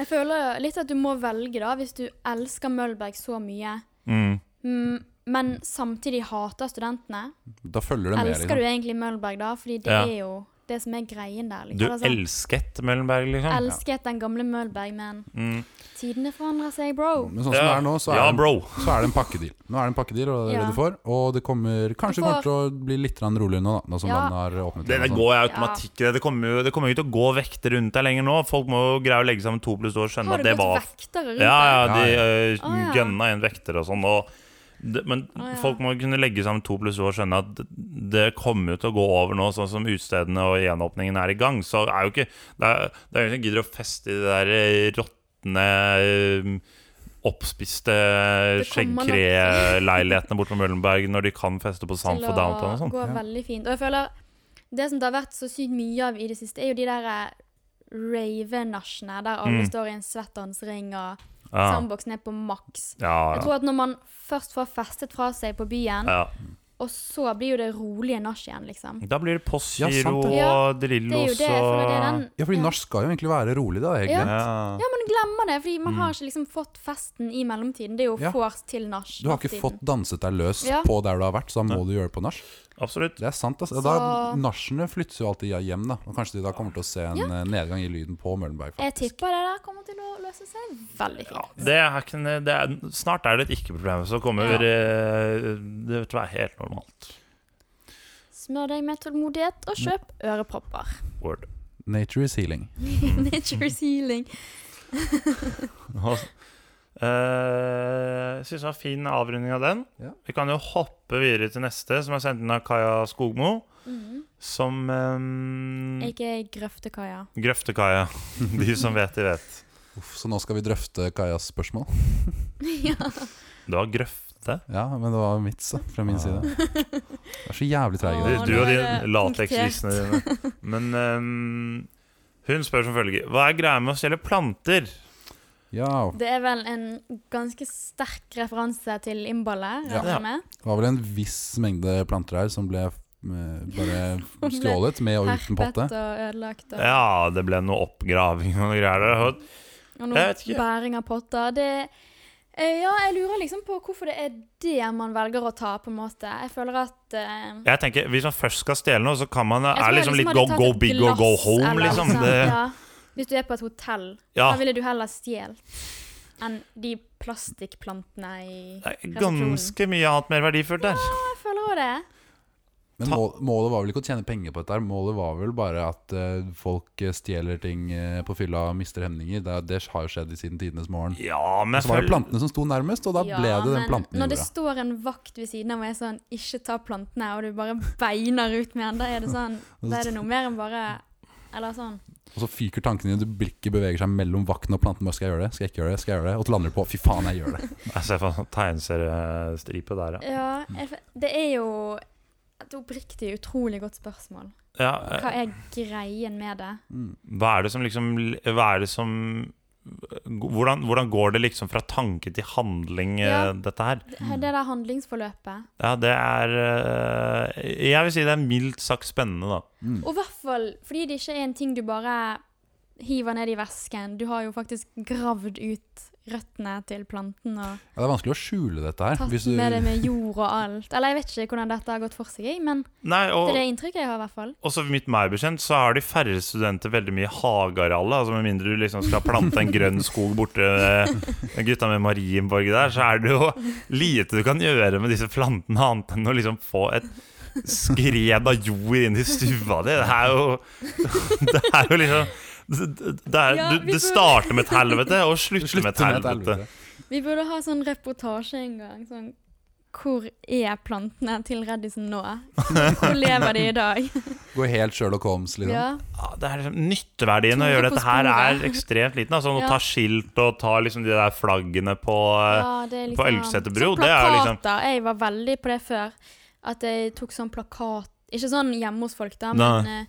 C: Jeg føler litt at du må velge da, hvis du elsker Mølberg så mye,
A: mm,
C: mm, men samtidig hater studentene.
B: Da følger det med.
C: Elsker
B: Liksom.
C: du egentlig Mølberg da? Fordi det
A: Ja.
C: er jo det som er greien der.
A: Du
C: Liksom. Altså,
A: elsket Møllenberg, liksom?
C: elsket den gamle Mølberg, men
A: Mm.
C: tidene forandrer seg, bro.
B: Men sånn som det er nå, så er,
A: ja,
B: det-
A: bro.
B: så er det en pakkedeal. Nå er det en pakkedeal, og det er
C: Ja.
B: det du får. Og det kommer kanskje
C: Du
B: det kommer
C: får-
B: til å bli litt grann roligere nå, da, nå som
C: Ja.
B: man har
A: Det
B: åpnet. igjen
A: der
B: og sånn.
A: går i automatikk. i Det. Det kommer jo det kommer jo ikke til å gå vekter rundt deg lenger nå. Folk må jo greie å legge sammen to pluss to og skjønne
C: Har
A: at
C: du
A: det
C: gått
A: var
C: vektere rundt
A: Ja, ja,
B: Ja,
A: de
B: ja.
A: øh,
C: Å, ja.
A: gønna inn vekter og sånn. Og det, men
C: Å, ja.
A: folk må kunne legge sammen to pluss to og skjønne at det kommer jo til å gå over nå, sånn som utestedene og gjenåpningen er i gang. Så er jo ikke Det er det er jo ingen som gidder å feste i det der eh, råtne eh, Oppspiste
C: Det kommer nok.
A: skjeggkreleilighetene borte på Møllenberg når de kan feste på
C: til
A: Samfo Downtown og sånn.
C: gå
B: Ja.
C: veldig fint. Og jeg føler det som det har vært så sykt mye av i det siste, er jo de der eh, rave-nachene, der alle
A: Mm.
C: står i en sweathandsring og
A: Ja.
C: soundboxen er på maks.
A: Ja,
C: Jeg
A: ja,
C: tror at når man først får festet fra seg på byen,
A: ja.
C: og så blir jo det rolige nach igjen, liksom.
A: Da blir det
B: Ja, sant
A: Postgiro
B: det.
A: og
C: Det er jo
A: Drillos
C: det, jeg føler det er den
A: og
B: sånn. Ja, fordi nach skal jo egentlig være rolig, da. egentlig.
C: Ja.
A: Ja. Mm.
C: Ja, man glemmer det, fordi man har ikke liksom fått festen i mellomtiden. Det er jo
B: Ja.
C: vors til nach.
B: Du har ikke fått danset deg løs
C: Ja.
B: på der du har vært, så da må du gjøre det på nach.
A: Absolutt.
B: Det er sant, altså.
C: Så-
B: Da, nachene flytter jo alltid hjem, da. Og kanskje de da kommer til å se en eh, nedgang i lyden på Møllenberg.
C: Jeg
B: faktisk.
C: tipper det der kommer til å løse seg veldig
A: Ja, det
C: fint.
A: er ikke, en- det er, snart er det et ikke-problem, så kommer
C: Ja.
A: eh, det til å være helt normalt.
C: Smør deg med tålmodighet
B: Mm.
C: og kjøp ørepropper.
A: Word.
B: Nature is healing.
C: Nature's healing.
A: Eh, Jeg synes det var fin avrunding av den.
B: Ja.
A: Vi kan jo hoppe videre til neste, som er sendt inn av Kaja Skogmo. Mm. Som eh,
C: Ikke grøftekaia.
A: Grøftekaja. De som vet, de vet.
B: Uff, så nå skal vi drøfte Kajas spørsmål.
A: Du har grøfte.
B: Ja, men det var en vits da, fra min side. Det er så jævlig
A: Du,
B: treige
C: Åh,
B: dere.
A: du
C: nå
A: og
C: er
A: de
C: det
A: latekslissene dine. Men eh, hun spør som følger Hva er greia med å stjele planter?
B: Ja,
C: Det er vel en ganske sterk referanse til innballet,
B: Ja.
C: regner jeg med.
B: det var vel en viss mengde planter her som ble eh, bare stjålet med og uten
C: Herpet
B: potte.
C: og ødelagt og,
A: Ja, det ble noe oppgraving og noe greier der. Og
C: og
A: jeg vet
C: noe
A: ikke.
C: bæring av potter. Det eh, ja, jeg lurer liksom på hvorfor det er det man velger å ta, på en måte. Jeg føler at eh,
A: Jeg tenker, Hvis man først skal stjele noe, så kan man
C: Jeg
A: er
C: tror jeg
A: liksom litt
C: hadde
A: go,
C: tatt
A: go
C: et
A: big or go
C: glass
A: home,
C: eller
A: liksom.
C: noe sånt,
A: Det,
C: ja. Hvis du er på et hotell,
A: ja,
C: da ville du heller stjålet enn de plastikkplantene i
A: det er ganske mye annet mer verdifullt der.
C: Jeg føler òg det.
B: Men
A: Ta-
B: mål, målet var vel ikke å tjene penger på dette her, målet var vel bare at eh, folk eh, stjeler ting eh, på fylla og mister hemninger. Det, det har jo skjedd i siden tidenes morgen.
A: Ja, men
B: Og
A: jeg
B: Så var det
A: føler
B: plantene som sto nærmest, og da ble det den planten i
C: Når det
B: jorda.
C: står en vakt ved siden av og er sånn 'ikke ta plantene', og du bare beiner ut med den, da er det sånn Da er det noe mer enn bare Eller sånn
B: Og så fyker tankene dine, du blikket beveger seg mellom vakten og planten. Bare, skal jeg gjøre det? Skal jeg ikke gjøre det? Skal jeg gjøre det? Og så lander du på fy faen, jeg gjør det.
A: Jeg ser for meg sånn tegneseriestripe der, ja.
C: Ja, jeg, f- det er jo et oppriktig utrolig godt spørsmål.
A: ja. eh,
C: Hva er greien med det?
B: Mm,
A: Hva er det som liksom Hva er det som hvordan, hvordan går det liksom fra tanke til handling, eh,
C: Ja.
A: dette her?
C: Det, det der handlingsforløpet.
A: Ja, det er eh, Jeg vil si det er mildt sagt spennende, da.
B: mm.
C: Og i hvert fall fordi det ikke er en ting du bare hiver ned i vesken. Du har jo faktisk gravd ut røttene til planten og
B: Ja, det er vanskelig å skjule dette her.
C: tatt
B: Hvis du,
C: med det med jord og alt. Eller jeg vet ikke hvordan dette har gått for seg, jeg, men
A: Nei,
C: det
A: og,
C: er det inntrykket jeg har, i hvert fall.
A: og så vidt meg bekjent, så har de færre studenter veldig mye hageareal. Altså med mindre du liksom skal plante en grønn skog borte ved gutta med Marienborg der, så er det jo lite du kan gjøre med disse plantene, annet enn å liksom få et skred av jord inn i stua di. Det er jo Det er jo liksom det, det, er,
C: Ja,
A: du,
C: vi
A: det
C: burde-
A: starter med et helvete og slutter med et
B: Slutte med et
A: helvete.
B: helvete.
C: Vi burde ha sånn reportasje en gang. sånn hvor er plantene til reddisen nå? Hvor lever de i dag?
B: Gå helt Sherlock Holmes, liksom.
C: Ja,
A: ja, det er liksom Nytteverdien av å
C: Tror
A: gjøre
C: på
A: dette her er
C: sporet.
A: ekstremt liten. Altså, å
C: Ja.
A: ta skilt og ta liksom de der flaggene på eh,
C: ja, det er
A: på Elgseter bro,
C: sånn
A: det er liksom-
C: plakater. Jeg var veldig på det før. At jeg tok sånn plakat Ikke sånn hjemme hos folk, da,
A: Nei.
C: men eh,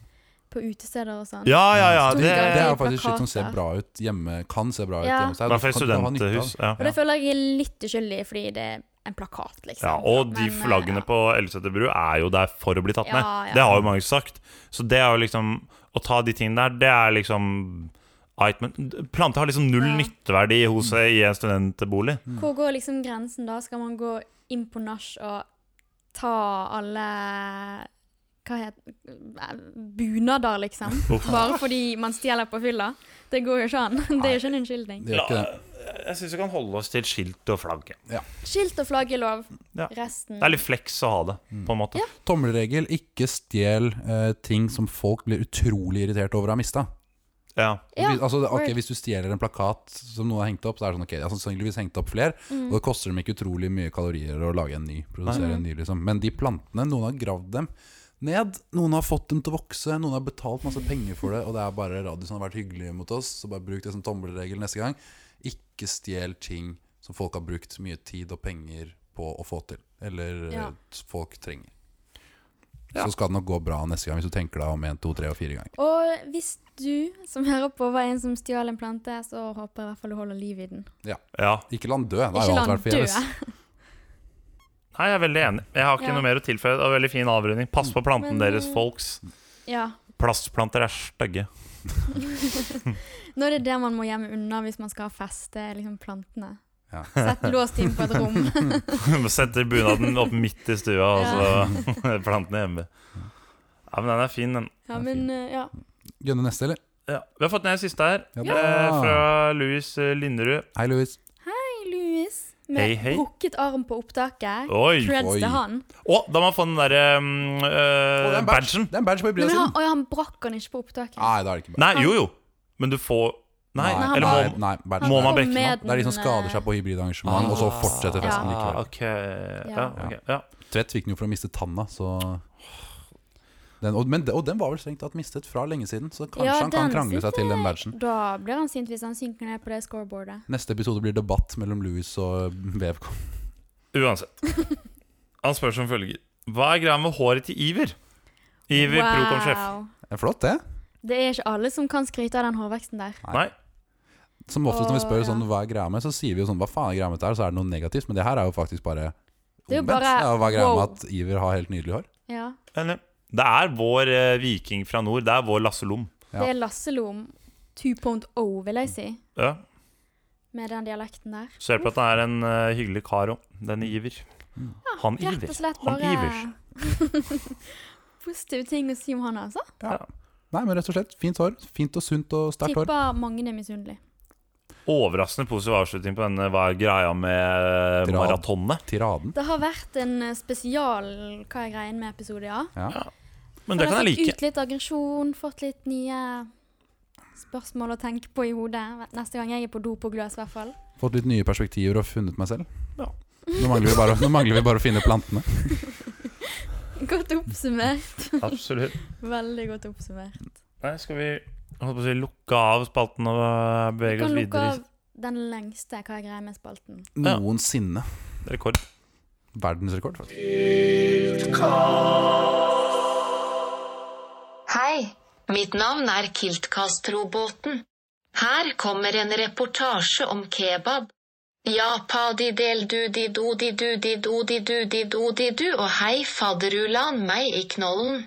C: på utesteder og sånn.
A: Ja, ja, ja.
C: Store
A: Det,
B: Det er jo faktisk
C: plakater.
B: shit som ser bra ut hjemme, kan se bra ut
C: Ja.
B: hjemme hos
A: I
B: deg.
A: hvert fall i
B: Du kan- du kan ha nytte av
A: studentehus.
B: det.
A: Ja.
C: Og det føler jeg er litt uskyldig, fordi det er en plakat, liksom.
A: Ja, og de
C: Men, eh,
A: flaggene
C: ja.
A: på Elgseter bru er jo der for å bli tatt ned.
C: Ja, ja.
A: Det har jo mange sagt. Så det er jo liksom Å ta de tingene der, det er liksom ait, men Planter har liksom null
C: Ja.
A: nytteverdi hos eh, i en studentbolig.
C: Hvor går liksom grensen da? Skal man gå inn på nach og ta alle hva heter Bunader, liksom. Bare fordi man stjeler på fylla. Det går jo ikke an. Det er jo ikke en unnskyldning.
B: Det gjør ikke det.
A: Jeg syns vi kan holde oss til skilt og flagg.
C: Mm. Skilt og flagg er lov.
A: Ja.
C: Resten
A: Det er litt fleks å ha det, på en måte.
B: Tommelregel ikke stjel eh, ting som folk blir utrolig irritert over å ha mista.
A: Ja.
C: Ja,
B: Hvis- altså, det- ok,
C: word.
B: hvis du stjeler en plakat som noen har hengt opp, så er det sånn ok, jeg har sannsynligvis hengt opp flere,
C: Mm.
B: og det koster dem ikke utrolig mye kalorier å lage en ny. Produsere en ny liksom. Men de plantene, noen har gravd dem ned, noen har fått dem til å vokse, noen har betalt masse penger for det, og det er bare Radiusen har vært hyggelig mot oss, så bare bruk det som tommelregel neste gang. Ikke stjel ting som folk har brukt mye tid og penger på å få til, eller eh,
C: Ja.
B: folk trenger.
A: Ja.
B: Så skal det nok gå bra neste gang, hvis du tenker deg om én, to, tre og fire ganger.
C: Og hvis du som hører på var en som stjal en plante, så håper jeg i hvert fall du holder liv i den.
A: ja.
B: Ikke la den dø. Det har
C: Ikke
B: jo
C: la
B: alt
C: den
B: vært
C: dø.
B: forgjeves.
A: Nei, jeg er veldig enig. Jeg har ikke
C: Ja.
A: noe mer å tilføye. Det var veldig fin avrunding. Pass på planten
C: Men,
A: deres,
C: eh,
A: folks.
C: Ja.
A: Plastplanter er stygge.
C: Nå er det det man må gjemme unna hvis man skal ha fest, det er liksom plantene.
B: Ja.
C: Sett låst inn på et rom.
A: Setter bunaden opp midt i stua, og så er plantene hjemme. Ja, men den er fin, den.
C: Ja, men eh, ja.
B: Gønne neste, eller?
A: Ja. Vi har fått ned siste her,
B: Ja, bra.
A: eh, fra Louis eh, Linderud.
B: Hei, Louis.
C: Hei, Louis. Med
A: Hei, hei.
C: brukket arm på opptaket.
A: Oi! Å,
C: Creds
B: Oi.
C: til han.
A: da må han få den derre um,
B: Å, det er en badge.
A: badgen.
B: Det sånn? Ah, er en badge på
C: Nei,
B: hybrida
C: men
B: sin.
C: han, oi, han brakk han ikke på opptaket.
B: Nei, da er det ikke badge.
A: Nei, jo jo. Men du får Nei,
C: han
A: eller
C: var-
A: må
B: nei, badge.
A: må
C: Han
A: man
C: kom
A: brekke den
C: med
B: Det er de som
C: den,
B: skader
C: eh,
B: seg på hybridarrangement, og så fortsetter festen
A: ah,
B: likevel.
A: ok. Ja, ok. Ja.
B: Tvedt fikk den jo for å miste tanna, så den, og, men, de- og den var vel strengt tatt mistet fra lenge siden, så kanskje
C: Ja,
B: han kan
C: den
B: krangle seg
C: synes
B: til den
C: jeg-
B: badgen.
C: Da blir han sint hvis han synker ned på det scoreboardet.
B: Neste episode blir debatt mellom Louis og VFK.
A: Uansett. Han spør som følger Hva er greia med håret til Iver? Iver Procon-sjef.
B: Det er Flott, det.
C: Det er ikke alle som kan skryte av den hårveksten der.
A: Nei.
B: Som oftest når vi spør
C: Åh, ja.
B: sånn, hva er greia med, så sier vi jo sånn hva faen er greia med dette her, så er det noe negativt, men det her er jo faktisk bare
C: Det er jo
B: omvendt.
C: bare,
B: Ja, hva er greia med
C: wow.
B: at Iver har helt nydelig hår?
C: Ja.
A: Eller? Det er vår eh, viking fra nord. Det er vår Lasse Lom.
B: Ja.
C: Det er Lasselom 2.0, oh, vil jeg si,
A: Ja.
C: med den dialekten der.
A: Så hjelper det at han er en eh, hyggelig kar òg. Den Iver. Han
C: Rett
A: Iver.
C: og slett
A: Han
C: bare
A: Ivers.
C: positive ting å si om han, altså.
B: Nei, men rett og slett fint hår. Fint og sunt og sterkt hår.
C: Tipper mange er misunnelige.
A: Overraskende positiv avslutning på denne Hva er greia med eh,
B: Dra.
A: maratonet?
B: Tiraden.
C: Det har vært en eh, spesial Hva er greien med episode, ja.
A: Men det kan jeg
C: Fått
A: like.
C: ut litt aggresjon, fått litt nye spørsmål å tenke på i hodet. Neste gang jeg er på do på Gløs, i hvert fall.
B: Fått litt nye perspektiver og funnet meg selv.
A: Ja.
B: Nå, mangler vi bare, nå mangler vi bare å finne plantene.
C: Godt oppsummert.
A: Absolutt.
C: Veldig godt oppsummert.
A: Nei, skal vi holdt på å si, lukke av spalten og eh,
C: Vi
A: bevege
C: kan
A: oss
C: lukke
A: videre?
C: av den lengste Hva er greia med spalten.
A: Ja.
B: Noensinne.
A: i Rekord.
B: Verdensrekord, faktisk.
D: Hei, mitt navn er Kiltkastroboten. Her kommer en reportasje om kebab. Ja, padidel-dudi-dodi-dudi-dodi-dudi-dodi-du og hei fadderulan meg i knollen.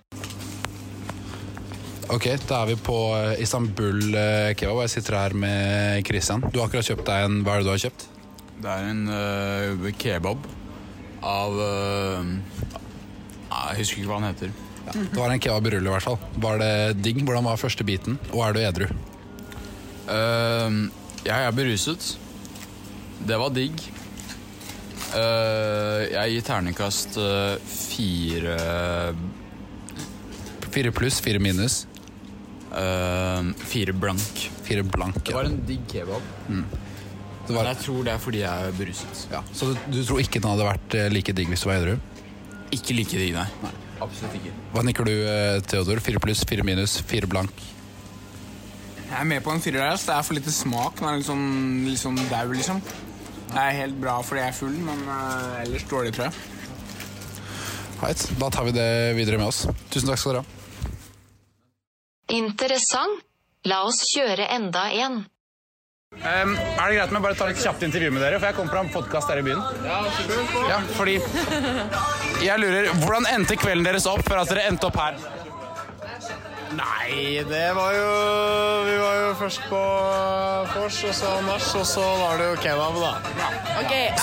B: Ok, da er vi på eh, Istanbul eh, kebab. og Jeg sitter her med Christian. Du har akkurat kjøpt deg en Hva er det du har kjøpt?
E: Det er en eh, kebab av eh, nei, Jeg husker ikke hva den heter.
A: Mhm.
B: Det var en kebabrulle, i hvert fall. Var det digg? Hvordan var første biten? Og er du edru?
E: Eh, jeg er beruset. Det var digg. Eh, jeg gir terningkast eh, fire
B: Fire pluss, fire minus,
E: eh, Fire blank.
B: fire blank.
E: Det var en digg kebab.
B: Det
E: Men
B: var,
E: jeg tror det er fordi jeg er beruset.
B: ja. Så du, du tror ikke den hadde vært eh, like digg hvis du var edru?
E: Ikke like digg, nei. Absolutt ikke.
B: Hva nikker du, eh, Theodor? Fire pluss, fire minus, fire blank.
F: Jeg er med på en firer der. ass. Det er for lite smak. Den er litt sånn, litt sånn dau, liksom. Det er helt bra fordi jeg er full, men eh, ellers dårlig, tror jeg.
B: Right. Da tar vi det videre med oss. Tusen takk skal dere ha.
D: Interessant. La oss kjøre enda en.
G: Ehm, er det greit om jeg bare tar et kjapt intervju med dere? For jeg kommer fra en podkast der i byen. Ja, fordi Jeg lurer, Hvordan endte kvelden deres opp før at dere endte opp her?
H: Nei, det var jo Vi var jo først på vors, og så nach, og så var det jo kebab, da.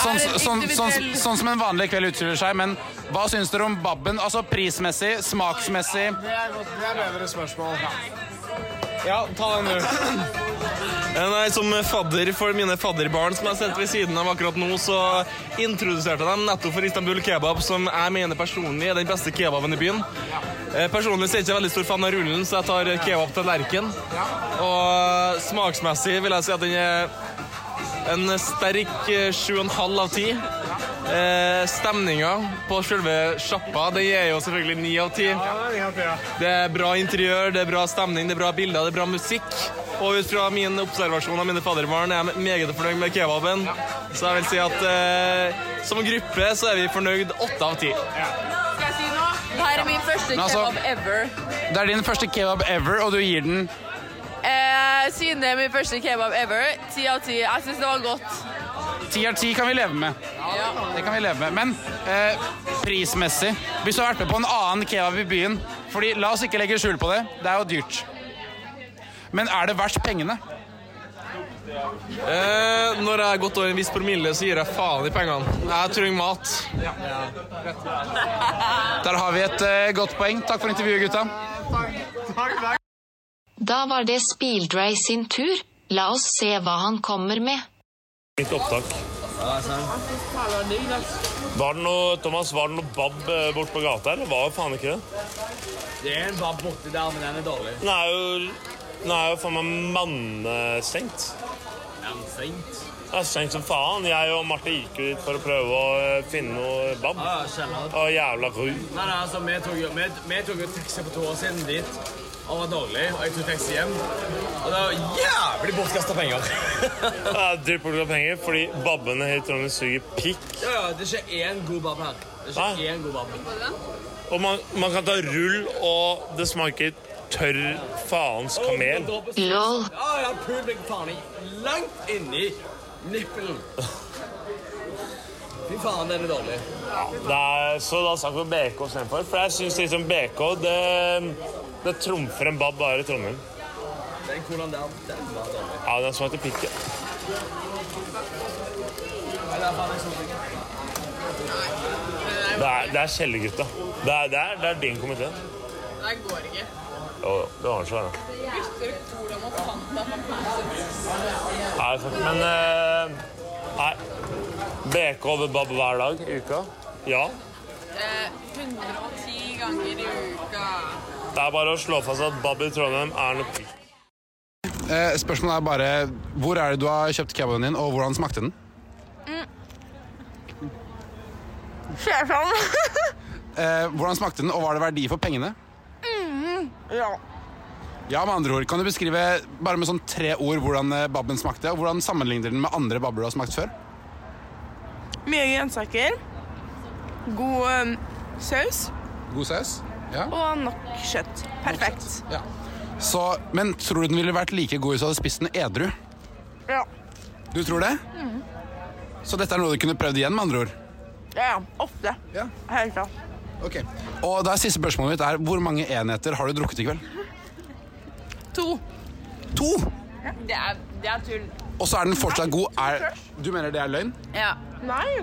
G: Sånn, sånn, sånn, sånn som en vanlig kveld utstiller seg. Men hva syns dere om babben? Altså prismessig, smaksmessig.
H: Det er, godt, det er bedre spørsmål. Ja, ta den du.
I: Eh, Nei, Som fadder for mine fadderbarn som jeg sitter ved siden av akkurat nå, så introduserte jeg dem nettopp for Istanbul kebab, som jeg mener personlig er den beste kebaben i byen. Eh, Personlig så er jeg ikke veldig stor fan av rullen, så jeg tar kebab til lerken. Og smaksmessig vil jeg si at den er en sterk eh, 7,5 av 10. Eh, Stemninga på selve sjappa, den er jo selvfølgelig 9 av 10. Det er bra interiør, det er bra stemning, det er bra bilder, det er bra musikk. Og ut fra min observasjon av mine fadderbarn er jeg meget fornøyd med kebaben. Så jeg vil si at eh, som gruppe så er vi fornøyd åtte av ti. Eh,
J: Det her er min første
G: Men altså-
J: kebab ever.
G: Det er din første kebab ever, og du gir den
J: Eh, siden det er min første kebab ever, ti av ti. Jeg syns det var godt.
G: ti av ti. kan vi leve med. Det kan vi leve med. Men eh, prismessig Hvis du har vært med på en annen kebab i byen Fordi, la oss ikke legge skjul på det. Det er jo dyrt. Men er det verdt pengene?
I: Eh, når jeg har gått over en viss promille, så gir jeg faen i pengene. Jeg trenger mat.
G: Der har vi et eh, godt poeng. Takk for intervjuet, gutta.
D: Da var det Speeldray sin tur. La oss se hva han kommer med.
A: Litt opptak. Var det noe, Thomas, var det noe bab eh, bort på gata, eller var det faen ikke det?
I: Det er en bab borti der, men den er dårlig.
A: Den er jo, den er jo faen meg mannestengt.
I: Anstengt.
A: Det er stengt som faen. Jeg og Marte gikk jo dit for å prøve å eh, finne noe bab. Og jævla ru.
I: Nei, nei, altså, vi tok, jo, vi, vi tok jo taxi for to år siden dit. Og var dårlig, og jeg tok taxi hjem. Og det var jævlig bortkasta penger.
A: Det er dyrt pga. penger, fordi babbene i Trondheim suger pikk.
I: ja, ja, det er ikke én god bab her. Det er
A: Nei.
I: ikke én god bab.
A: Og man, man kan ta rull, og det smaker tørr faens kamel.
D: Lol.
I: Ja, ja, pul meg faen i. Langt inni nippelen. Fy faen, den er dårlig.
A: Det er, så da snakker vi BK istedenfor. For jeg syns liksom BK det, det trumfer en bab bare i Trondheim.
I: Den hvordan der, den var dårlig.
A: Ja, den smaker pikk. Det er, det er Kjellergutta. Det er, det, er, det er din komité.
J: Det går ikke.
A: Jo, jo. Det ordner seg, det.
J: Gutter tror de har panta på
A: Nei, fuck, Men eh, Nei. BK over bab hver dag i uka? Ja.
J: eh, 110 ganger i uka.
A: Det er bare å slå fast at bab i Trondheim er noe pikk.
B: Eh, spørsmålet er bare hvor er det du har kjøpt kebaben din, og hvordan smakte den?
J: Sjefan.
B: Eh, hvordan smakte den, og var det verdi for pengene?
J: ja.
B: Ja, med andre ord. Kan du beskrive bare med sånn tre ord hvordan eh, babben smakte, og hvordan sammenligner den med andre babber du har smakt før?
J: Mye grønnsaker. God eh, saus.
B: God saus? Ja.
J: Og nok kjøtt. Perfekt.
B: ja. Så, men tror du den ville vært like god hvis du hadde spist den edru?
J: Ja.
B: Du tror det? Så dette er noe du kunne prøvd igjen, med andre ord?
J: Ja, ja. Ofte.
B: Ja.
J: Helt klart.
B: Ok. Og da er siste spørsmålet mitt er hvor mange enheter har du drukket i kveld?
J: To.
G: To!
J: Det er, det er tull.
G: Og så er den fortsatt god. Er, du mener det er løgn?
J: Ja. Nei.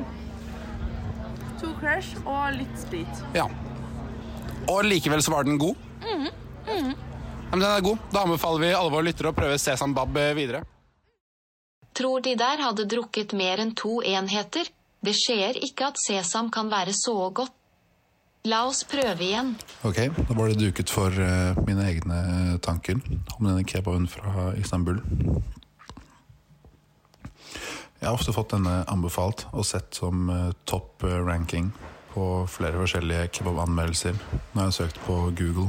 J: To crush og litt sprit.
G: Ja. Og likevel så var den god.
J: Mhm. Mhm.
G: Ja, Men den er god. Da anbefaler vi alle våre lyttere å prøve Sesam Bab eh, videre.
D: Tror de der hadde drukket mer enn to enheter? Det skjer ikke at sesam kan være så godt. La oss prøve igjen.
B: Ok, da var det duket for eh, mine egne tanker om denne kebaben fra Istanbul. Jeg har ofte fått denne anbefalt og sett som eh, topp eh, ranking på flere forskjellige kebabanmeldelser når jeg har søkt på Google.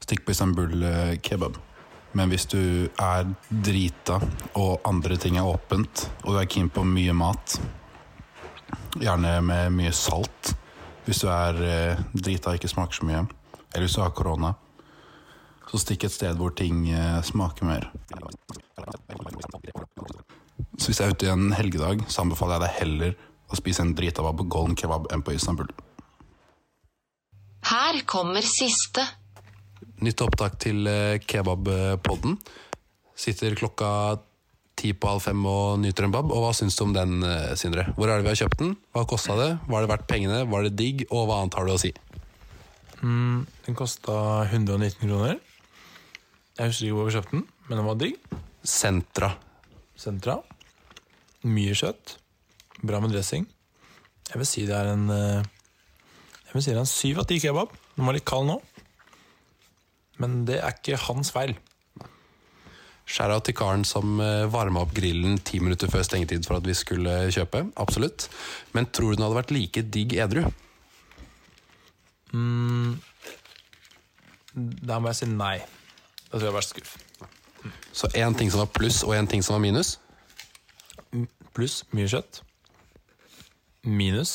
B: Stikk på Istanbul eh, kebab. Men hvis du er drita og andre ting er åpent, og du er keen på mye mat, gjerne med mye salt Hvis du er eh, drita og ikke smaker så mye, eller hvis du har korona, så stikk et sted hvor ting eh, smaker mer. Så hvis jeg er ute i en helgedag, så anbefaler jeg deg heller å spise en drita på Golden Kebab enn på Istanbul.
D: Her kommer siste.
B: Nytt opptak til eh, kebabpodden. Sitter klokka ti på halv fem og nyter en bab. Og hva syns du om den, eh, Sindre? Hvor er det vi har kjøpt den? Hva kosta det? Var det verdt pengene? Var det digg? Og hva annet har du å si?
H: Mm, den kosta 119 kroner. Jeg husker ikke hvor vi kjøpte den, men den var digg.
B: Sentra.
H: Sentra. Mye kjøtt. Bra med dressing. Jeg vil si det er en eh, Jeg vil si det er en syv av ti kebab. Den var litt kald nå. Men det er ikke hans feil.
B: Skjæra til karen som varma opp grillen ti minutter før stengetid for at vi skulle kjøpe. Absolutt. Men tror du den hadde vært like digg edru?
H: Mm, der må jeg si nei. Da tror jeg jeg har vært skuffet.
B: Så én ting som var pluss, og én ting som var minus?
H: Pluss mye kjøtt. Minus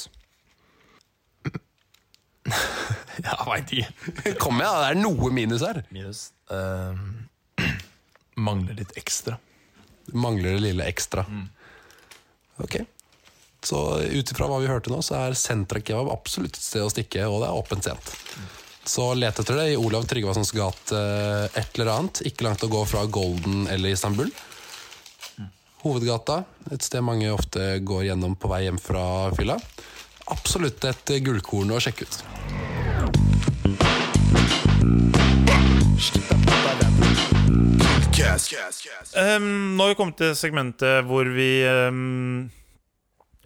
H: Jeg veit ikke.
B: Kom igjen, det er noe minus her.
H: Minus eh, Mangler litt ekstra.
B: Mangler det lille ekstra. Ok. Så ut ifra hva vi hørte nå, så er Sentra Kebab absolutt et sted å stikke, og det er åpent sent. Så let etter det i Olav Tryggvasons gate eh, et eller annet. Ikke langt å gå fra Golden eller Istanbul. Hovedgata, et sted mange ofte går gjennom på vei hjem fra fylla. Absolutt et eh, gullkorn å sjekke ut.
A: Um, nå har vi kommet til segmentet hvor vi um,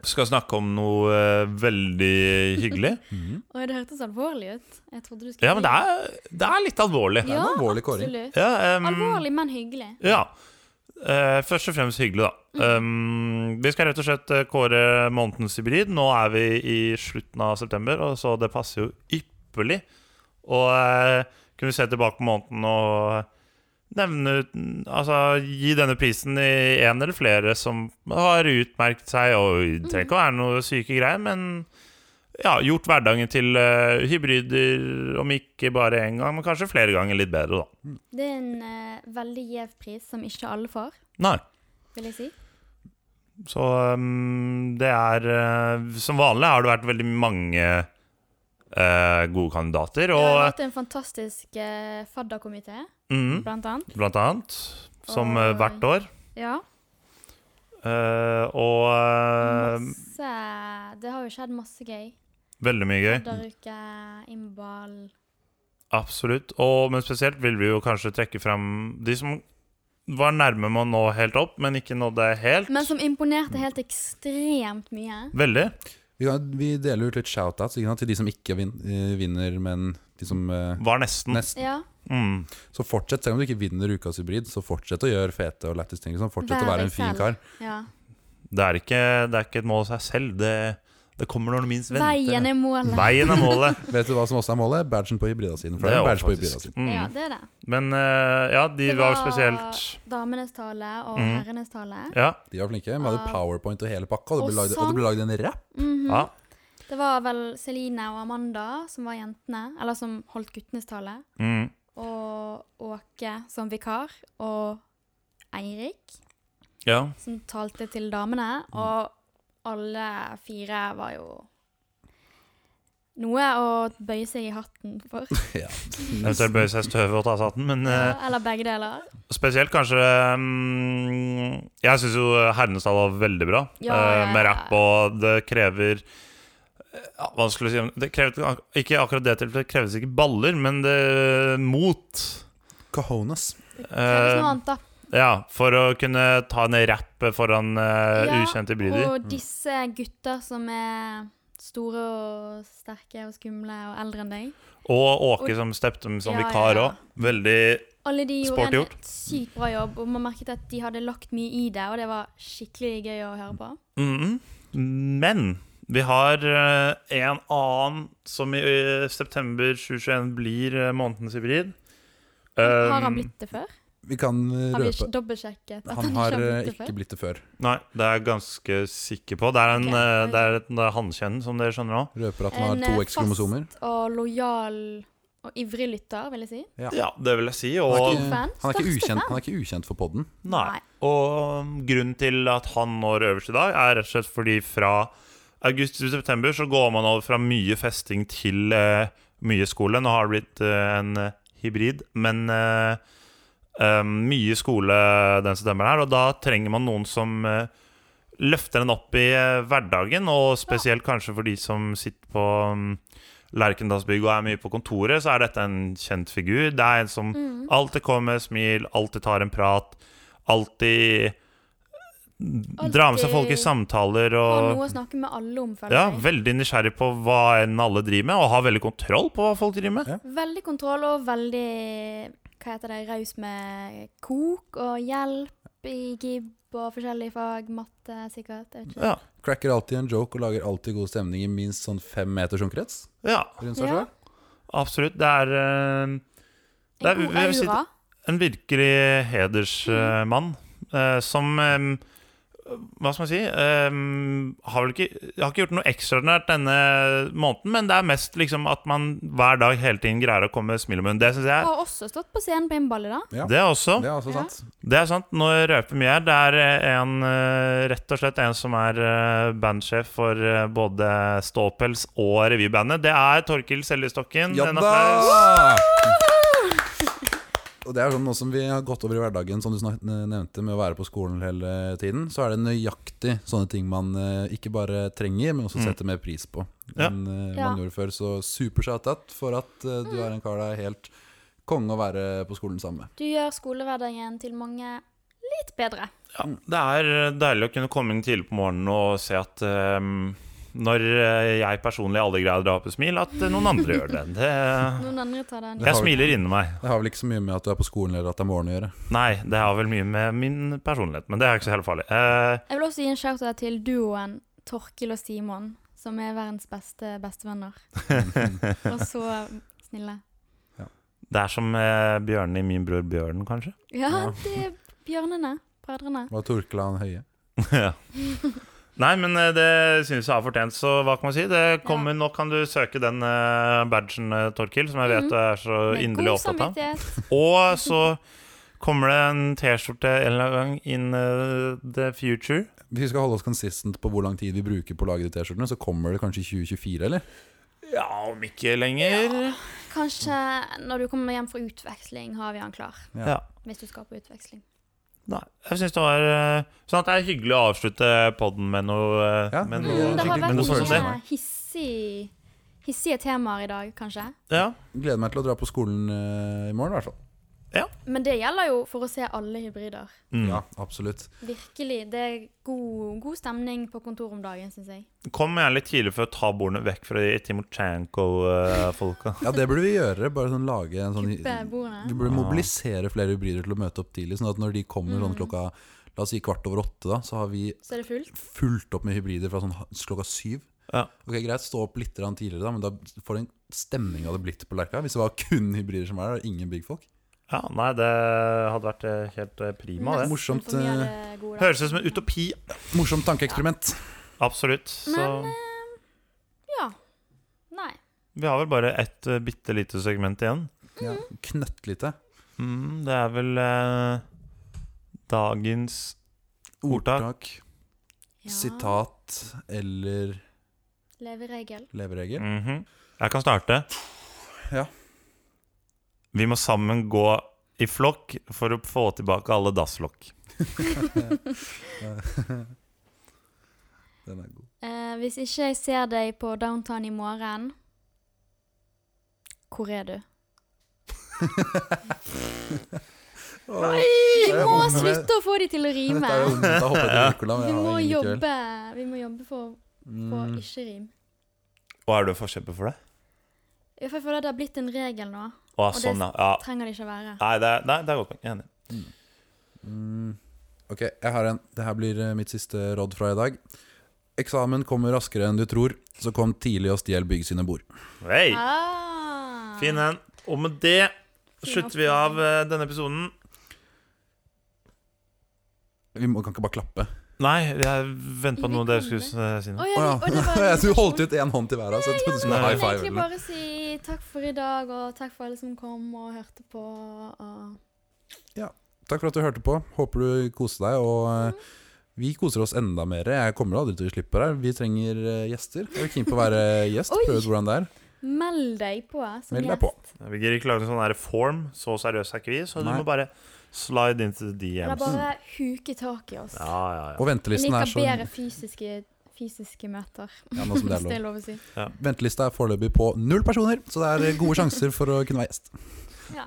A: skal snakke om noe eh, veldig hyggelig.
C: Oi, det hørtes alvorlig ut. Jeg trodde du skulle
A: Ja, men det er, det er litt alvorlig.
C: Ja, absolutt.
A: Ja, um,
C: alvorlig, men hyggelig.
A: Ja. Eh, først og fremst hyggelig, da. Um, vi skal rett og slett eh, kåre månedens hybrid. Nå er vi i slutten av september, og så det passer jo ypperlig å eh, kunne se tilbake på måneden og nevne ut- Altså gi denne prisen i én eller flere som har utmerket seg, og det trenger ikke å være noe syke greier, men ja, gjort hverdagen til eh, hybrider, om ikke bare én gang, men kanskje flere ganger litt bedre, da.
C: Det er en eh, veldig gjev pris som ikke alle får,
A: Nei.
C: vil jeg si.
A: Så um, det er eh, Som vanlig har det vært veldig mange eh, gode kandidater.
C: Vi har
A: Og
C: hatt en fantastisk eh, fadderkomité,
A: Mhm.
C: blant annet.
A: blant annet, som eh,
C: Og-
A: hvert år.
C: Ja.
A: Eh, og eh,
C: Masse, eh, det har jo skjedd masse gøy.
A: veldig mye gøy.
C: Fadderuke, innball
A: Absolutt. Og, men spesielt vil vi jo kanskje trekke fram de som var nærme med å nå helt opp, men ikke nådde helt.
C: Men som imponerte helt ekstremt mye.
A: Veldig.
B: Vi, kan, vi deler ut litt shoutouts ikke sant, til de som ikke vin, eh, vinner, men de som eh,
A: Var nesten.
C: Ja.
B: Så fortsett, selv om du ikke vinner ukas hybrid, så fortsett å gjøre fete og lættis ting. Liksom. Fortsett å
C: Vær
B: være
C: deg
B: en fin
C: selv.
B: kar.
C: Ja.
A: Det er ikke, det er ikke et mål i seg selv. Det, det kommer når du minst venter.
C: Veien er målet.
A: Veien er målet.
B: Vet du hva som også er målet? Badgen på hybrida siden. For det er
A: Det er
B: en badge på altså.
A: også
B: hybrida
A: faktisk.
B: siden.
A: Mm.
C: Ja, det er det.
A: Men eh, ja, de var, spesielt
C: damenes tale og
A: Mm.
C: herrenes tale.
A: Ja.
B: De var flinke. Vi hadde
C: Ja.
B: powerpoint og hele pakka, og det ble
C: Ah.
B: lagd,
C: Og sånn.
B: og det ble
C: sang.
B: lagd en rap.
C: Mhm.
A: Ja.
C: Det var vel Celine og Amanda som var jentene, eller som holdt guttenes tale.
A: Mm.
C: Og Åke som vikar. Og Eirik
A: ja. Mm.
C: som talte til damene. Og alle fire var jo noe å bøye seg i hatten for.
A: Eventuelt bøye seg i støvet og ta satten, men eh,
C: Eller begge deler.
A: Spesielt kanskje mm, Jeg syns jo Hernestad var veldig bra eh,
C: Ja, ja, ja.
A: med rapp, og det krever ja, Hva skulle jeg si Det krevet ak- ikke akkurat det til, for det kreves ikke baller, men det mot.
B: Cojones.
C: kreves
A: eh,
C: noe annet, da.
A: Ja, for å kunne ta en rapp foran eh,
C: Ja,
A: ukjente Mm. hybrider.
C: Og disse gutter som er store og sterke og skumle og eldre enn deg.
A: Og Åke
C: Og-
A: som steppte med som
C: Ja, ja,
A: vikar
C: ja.
A: òg. Veldig
C: Alle de gjorde
A: sporty
C: en
A: gjort.
C: sykt bra jobb, og man merket at de hadde lagt mye i det, og det var skikkelig gøy å høre på.
A: Mhm. Men vi har eh, en annen som i eh, september 2021 blir eh, månedens hybrid.
C: Har han
A: Um,
C: blitt det før?
B: Vi kan eh,
C: Har vi ikke
B: røpe
C: dobbeltsjekket? at
B: Han
C: ikke
B: har
C: blitt
B: eh,
C: det før?
B: ikke blitt det før.
A: Nei, det er jeg ganske sikker på. Det er en, okay. det er et hannkjenn, som dere skjønner nå.
B: Røper at
C: En
B: han har
C: eh,
B: to X-kromosomer.
C: fast og lojal og ivrig lytter, vil jeg si.
B: Ja.
A: Ja, det vil jeg si.
B: Han er
A: Og,
B: ikke,
C: fan.
B: han er ikke,
C: Største
B: ukjent,
C: fan.
B: han er ikke ukjent for podden.
A: nei. og grunnen til at han når øverst i dag, er rett og slett fordi fra august til september så går man over fra mye festing til eh, mye skole. Nå har det blitt eh, en eh, hybrid, men eh, eh, mye skole den september her, og da trenger man noen som eh, løfter den opp i eh, hverdagen, og spesielt kanskje for de som sitter på mm, Lerkendalsbygg og er mye på kontoret, så er dette en kjent figur. Det er en som
K: Mm.
A: alltid kommer med smil, alltid tar en prat, alltid mm, drar med seg folk i samtaler
C: Har noe
A: og
C: å snakke med alle om, føler
A: ja,
C: jeg.
A: Veldig nysgjerrig på hva enn alle driver med, og har veldig kontroll på hva folk driver med.
C: Veldig kontroll og veldig hva heter det, raus med kok og hjelp i gib og forskjellige fag. Matte, sikkert. jeg vet ikke.
B: Cracker alltid en joke og lager alltid god stemning i minst sånn fem meters omkrets.
A: Ja.
B: Rundt seg selv.
A: Absolutt. Det er, eh, det er
C: god
A: vi- vi sitter-
C: aura.
A: En virkelig hedersmann som eh, Hva skal man si? eh, har vel ikke, har ikke gjort noe ekstraordinært denne måneden, men det er mest liksom at man hver dag hele tiden greier å komme med smil om munnen. Det syns jeg er
C: Har også stått på scenen på innball i
A: Det
C: dag.
A: også.
B: Det er også sant.
A: Det er sant. Nå røper mye her. Det er eh, en, eh, rett og slett en som er eh, bandsjef for eh, både Ståpels og revybandet. Det er Torkil Seljestokken.
B: Ja
A: En
B: da!
A: applaus.
B: Og det er sånn nå som vi har gått over i hverdagen, som du snak- nevnte, med å være på skolen hele tiden, så er det nøyaktig sånne ting man eh, ikke bare trenger, men også
A: Mm.
B: setter mer pris på
A: Ja.
B: enn eh,
C: Ja.
B: man gjorde før. Så super shout-out for at eh, du er en kar det er helt konge å være på skolen sammen med.
C: Du gjør skolehverdagen til mange litt bedre.
A: Ja, det er deilig å kunne komme inn tidlig på morgenen og se at eh, når eh, jeg personlig aldri greier å dra opp et smil, at eh, noen andre gjør det. det
C: Noen andre tar den.
A: jeg smiler inni meg.
B: Det har vel ikke så mye med at du er på skolen eller at det er morgen å gjøre.
A: Nei, det har vel mye med min personlighet, men det er ikke så helt farlig. Eh,
C: Jeg vil også gi en shout-out til duoen Torkil og Simon, som er verdens beste bestevenner. og så snille.
A: det er som eh, bjørnen i min bror Bjørn, kanskje.
C: Ja, det er bjørnene. Brødrene.
B: Var Torkeland høye?
A: Ja. Nei, men eh, det syns jeg har fortjent, så hva kan man si? Det kommer, Nå kan du søke den eh, badgen, eh, Torkil, som jeg vet
C: Mhm.
A: du er så
C: Med
A: inderlig
C: god
A: opptatt av.
C: samvittighet.
A: Og så kommer det en T-skjorte en eller annen gang in eh, the future.
B: Hvis vi skal holde oss consistent på hvor lang tid vi bruker på å lage de T-skjortene, så kommer det kanskje i 2024, eller?
A: Ja, om ikke lenger.
C: Kanskje når du kommer hjem fra utveksling, har vi han klar.
A: Ja. Ja.
C: Hvis du skal på utveksling.
A: Nei, jeg synes det var eh, Sånn at det er hyggelig å avslutte podden med noe, eh, med
C: Mm,
A: noe,
C: det har
A: med
C: vært
A: noe sånt som det.
C: mye hissig, hissige temaer i dag, kanskje.
A: Ja.
B: Gleder meg til å dra på skolen eh, i morgen, i hvert fall.
C: Men det gjelder jo for å se alle hybrider.
A: Mm.
B: Ja, absolutt.
C: Virkelig. Det er god, god stemning på kontoret om dagen, syns jeg.
A: Kom gjerne litt tidlig for å ta bordene vekk fra de Timosjenko-folka.
B: Ja, det burde vi gjøre. Bare sånn lage en sånn
C: Kuppe bordene.
B: Vi burde mobilisere flere hybrider til å møte opp tidlig, sånn at når de kommer sånn
C: Mm.
B: klokka La oss si kvart over åtte, da, så har vi
C: Så er det fullt.
B: fulgt opp med hybrider fra sånn ha- klokka syv. Ok, Greit, stå opp litt grann tidligere, da, men da får du en stemning av det blitt på Lerka. Hvis det var kun hybrider som var der, og ingen big folk.
A: Ja, nei, det hadde vært eh, helt eh, prima, det.
B: Morsomt, eh,
A: Høres ut som en utopi.
B: morsomt tankeeksperiment.
A: Absolutt. Så
C: Men eh, ja. Nei.
A: vi har vel bare ett eh, bitte lite segment igjen.
B: Ja, Knøttlite.
A: Mm, det er vel eh, dagens ordtak.
B: sitat eller
C: Leveregel.
B: leveregel.
A: Mhm. Jeg kan starte.
B: Ja.
A: Vi må sammen gå i flokk for å få tilbake alle dasslokk.
B: Den er god.
C: Eh, hvis ikke jeg ser deg på downtown i morgen Hvor er du? Nei, vi må
B: Åh, men-
C: slutte å få de til å rime.
B: Dette er jo vondt. Da hopper jeg til Nicola, men
C: Vi
B: jeg har
C: må
B: ingen kveld.
C: jobbe, vi må jobbe for å
A: Mm.
C: ikke rime.
A: Og er du en forkjemper for det?
C: Jeg føler det har blitt en regel nå,
A: Å,
C: og det
A: sånn, ja. Ja.
C: trenger det ikke å være.
A: Nei, det er, nei, det er godt poeng. Jeg er Enig.
B: Mm. Ok, jeg har en. Det her blir eh, mitt siste råd fra i dag. Eksamen kommer raskere enn du tror, så kom tidlig og stjel bygg sine bord.
A: Hei!
C: Ah.
A: Fin en. Og med det slutter vi av eh, denne episoden.
B: Vi må, kan ikke bare klappe.
A: Nei, jeg venter på
C: Vi
A: noe dere
C: kan
A: skulle eh, si
C: Å,
A: noe.
C: ja,
B: Å ja.
C: og det var liksom- en
B: Jeg tror du holdt ut én hånd til hver. Så jeg trodde du
A: Nei.
B: skulle high
C: Jeg vil
B: five.
C: egentlig
B: eller noe.
C: bare si takk for i dag, og takk for alle som kom og hørte på. Og
B: Takk for at du hørte på. Håper du koser deg. Og eh, vi koser oss enda mer. Jeg kommer aldri til å slippe deg. Vi trenger eh, gjester. Er du keen på å være eh, gjest?
C: Oi.
B: Prøve ut hvordan det er.
C: meld deg på. eh, som
B: Meld deg
C: gjest.
B: på.
A: Vi gidder ikke lage en sånn her form. Så seriøs er ikke vi, så du
B: Nei.
A: må bare slide into the
C: Eller
A: DMs.
C: bare huke tak i oss.
A: Ja, ja, ja.
B: Og
C: Jeg
B: ventelisten er
C: liker
B: så
C: bedre fysiske, fysiske møter,
B: ja, nå som det
C: hvis
B: er
C: det er
B: lov.
C: lov å si.
B: Ventelista er foreløpig på null personer, så det er eh, gode sjanser for å kunne være gjest.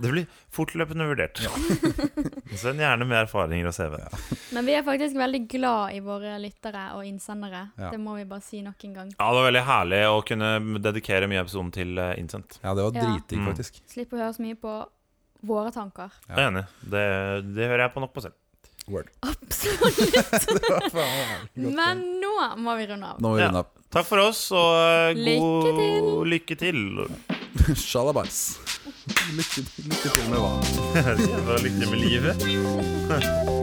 A: Det blir fortløpende vurdert. Send gjerne med erfaringer og CV.
C: Men vi er faktisk veldig glad i våre lyttere og innsendere.
B: Ja.
C: Det må vi bare si nok en gang.
A: Ja, det var veldig herlig å kunne dedikere mye av episoden til eh, Innsendt.
B: Ja, det var
C: Ja.
B: dritdigg,
A: Mm.
B: faktisk.
C: Slipp å høre så mye på våre tanker.
B: Ja.
A: Jeg er enig. Det, det hører jeg på nok på selv.
C: Absolutt. Men nå må vi runde av.
B: Nå må vi
A: Ja.
B: runde av.
A: Takk for oss, og eh, god
C: Lykke til.
A: Lykke til.
B: Sjalabais. Lykke, lykke til med hva?
A: Jævla lykke til med livet.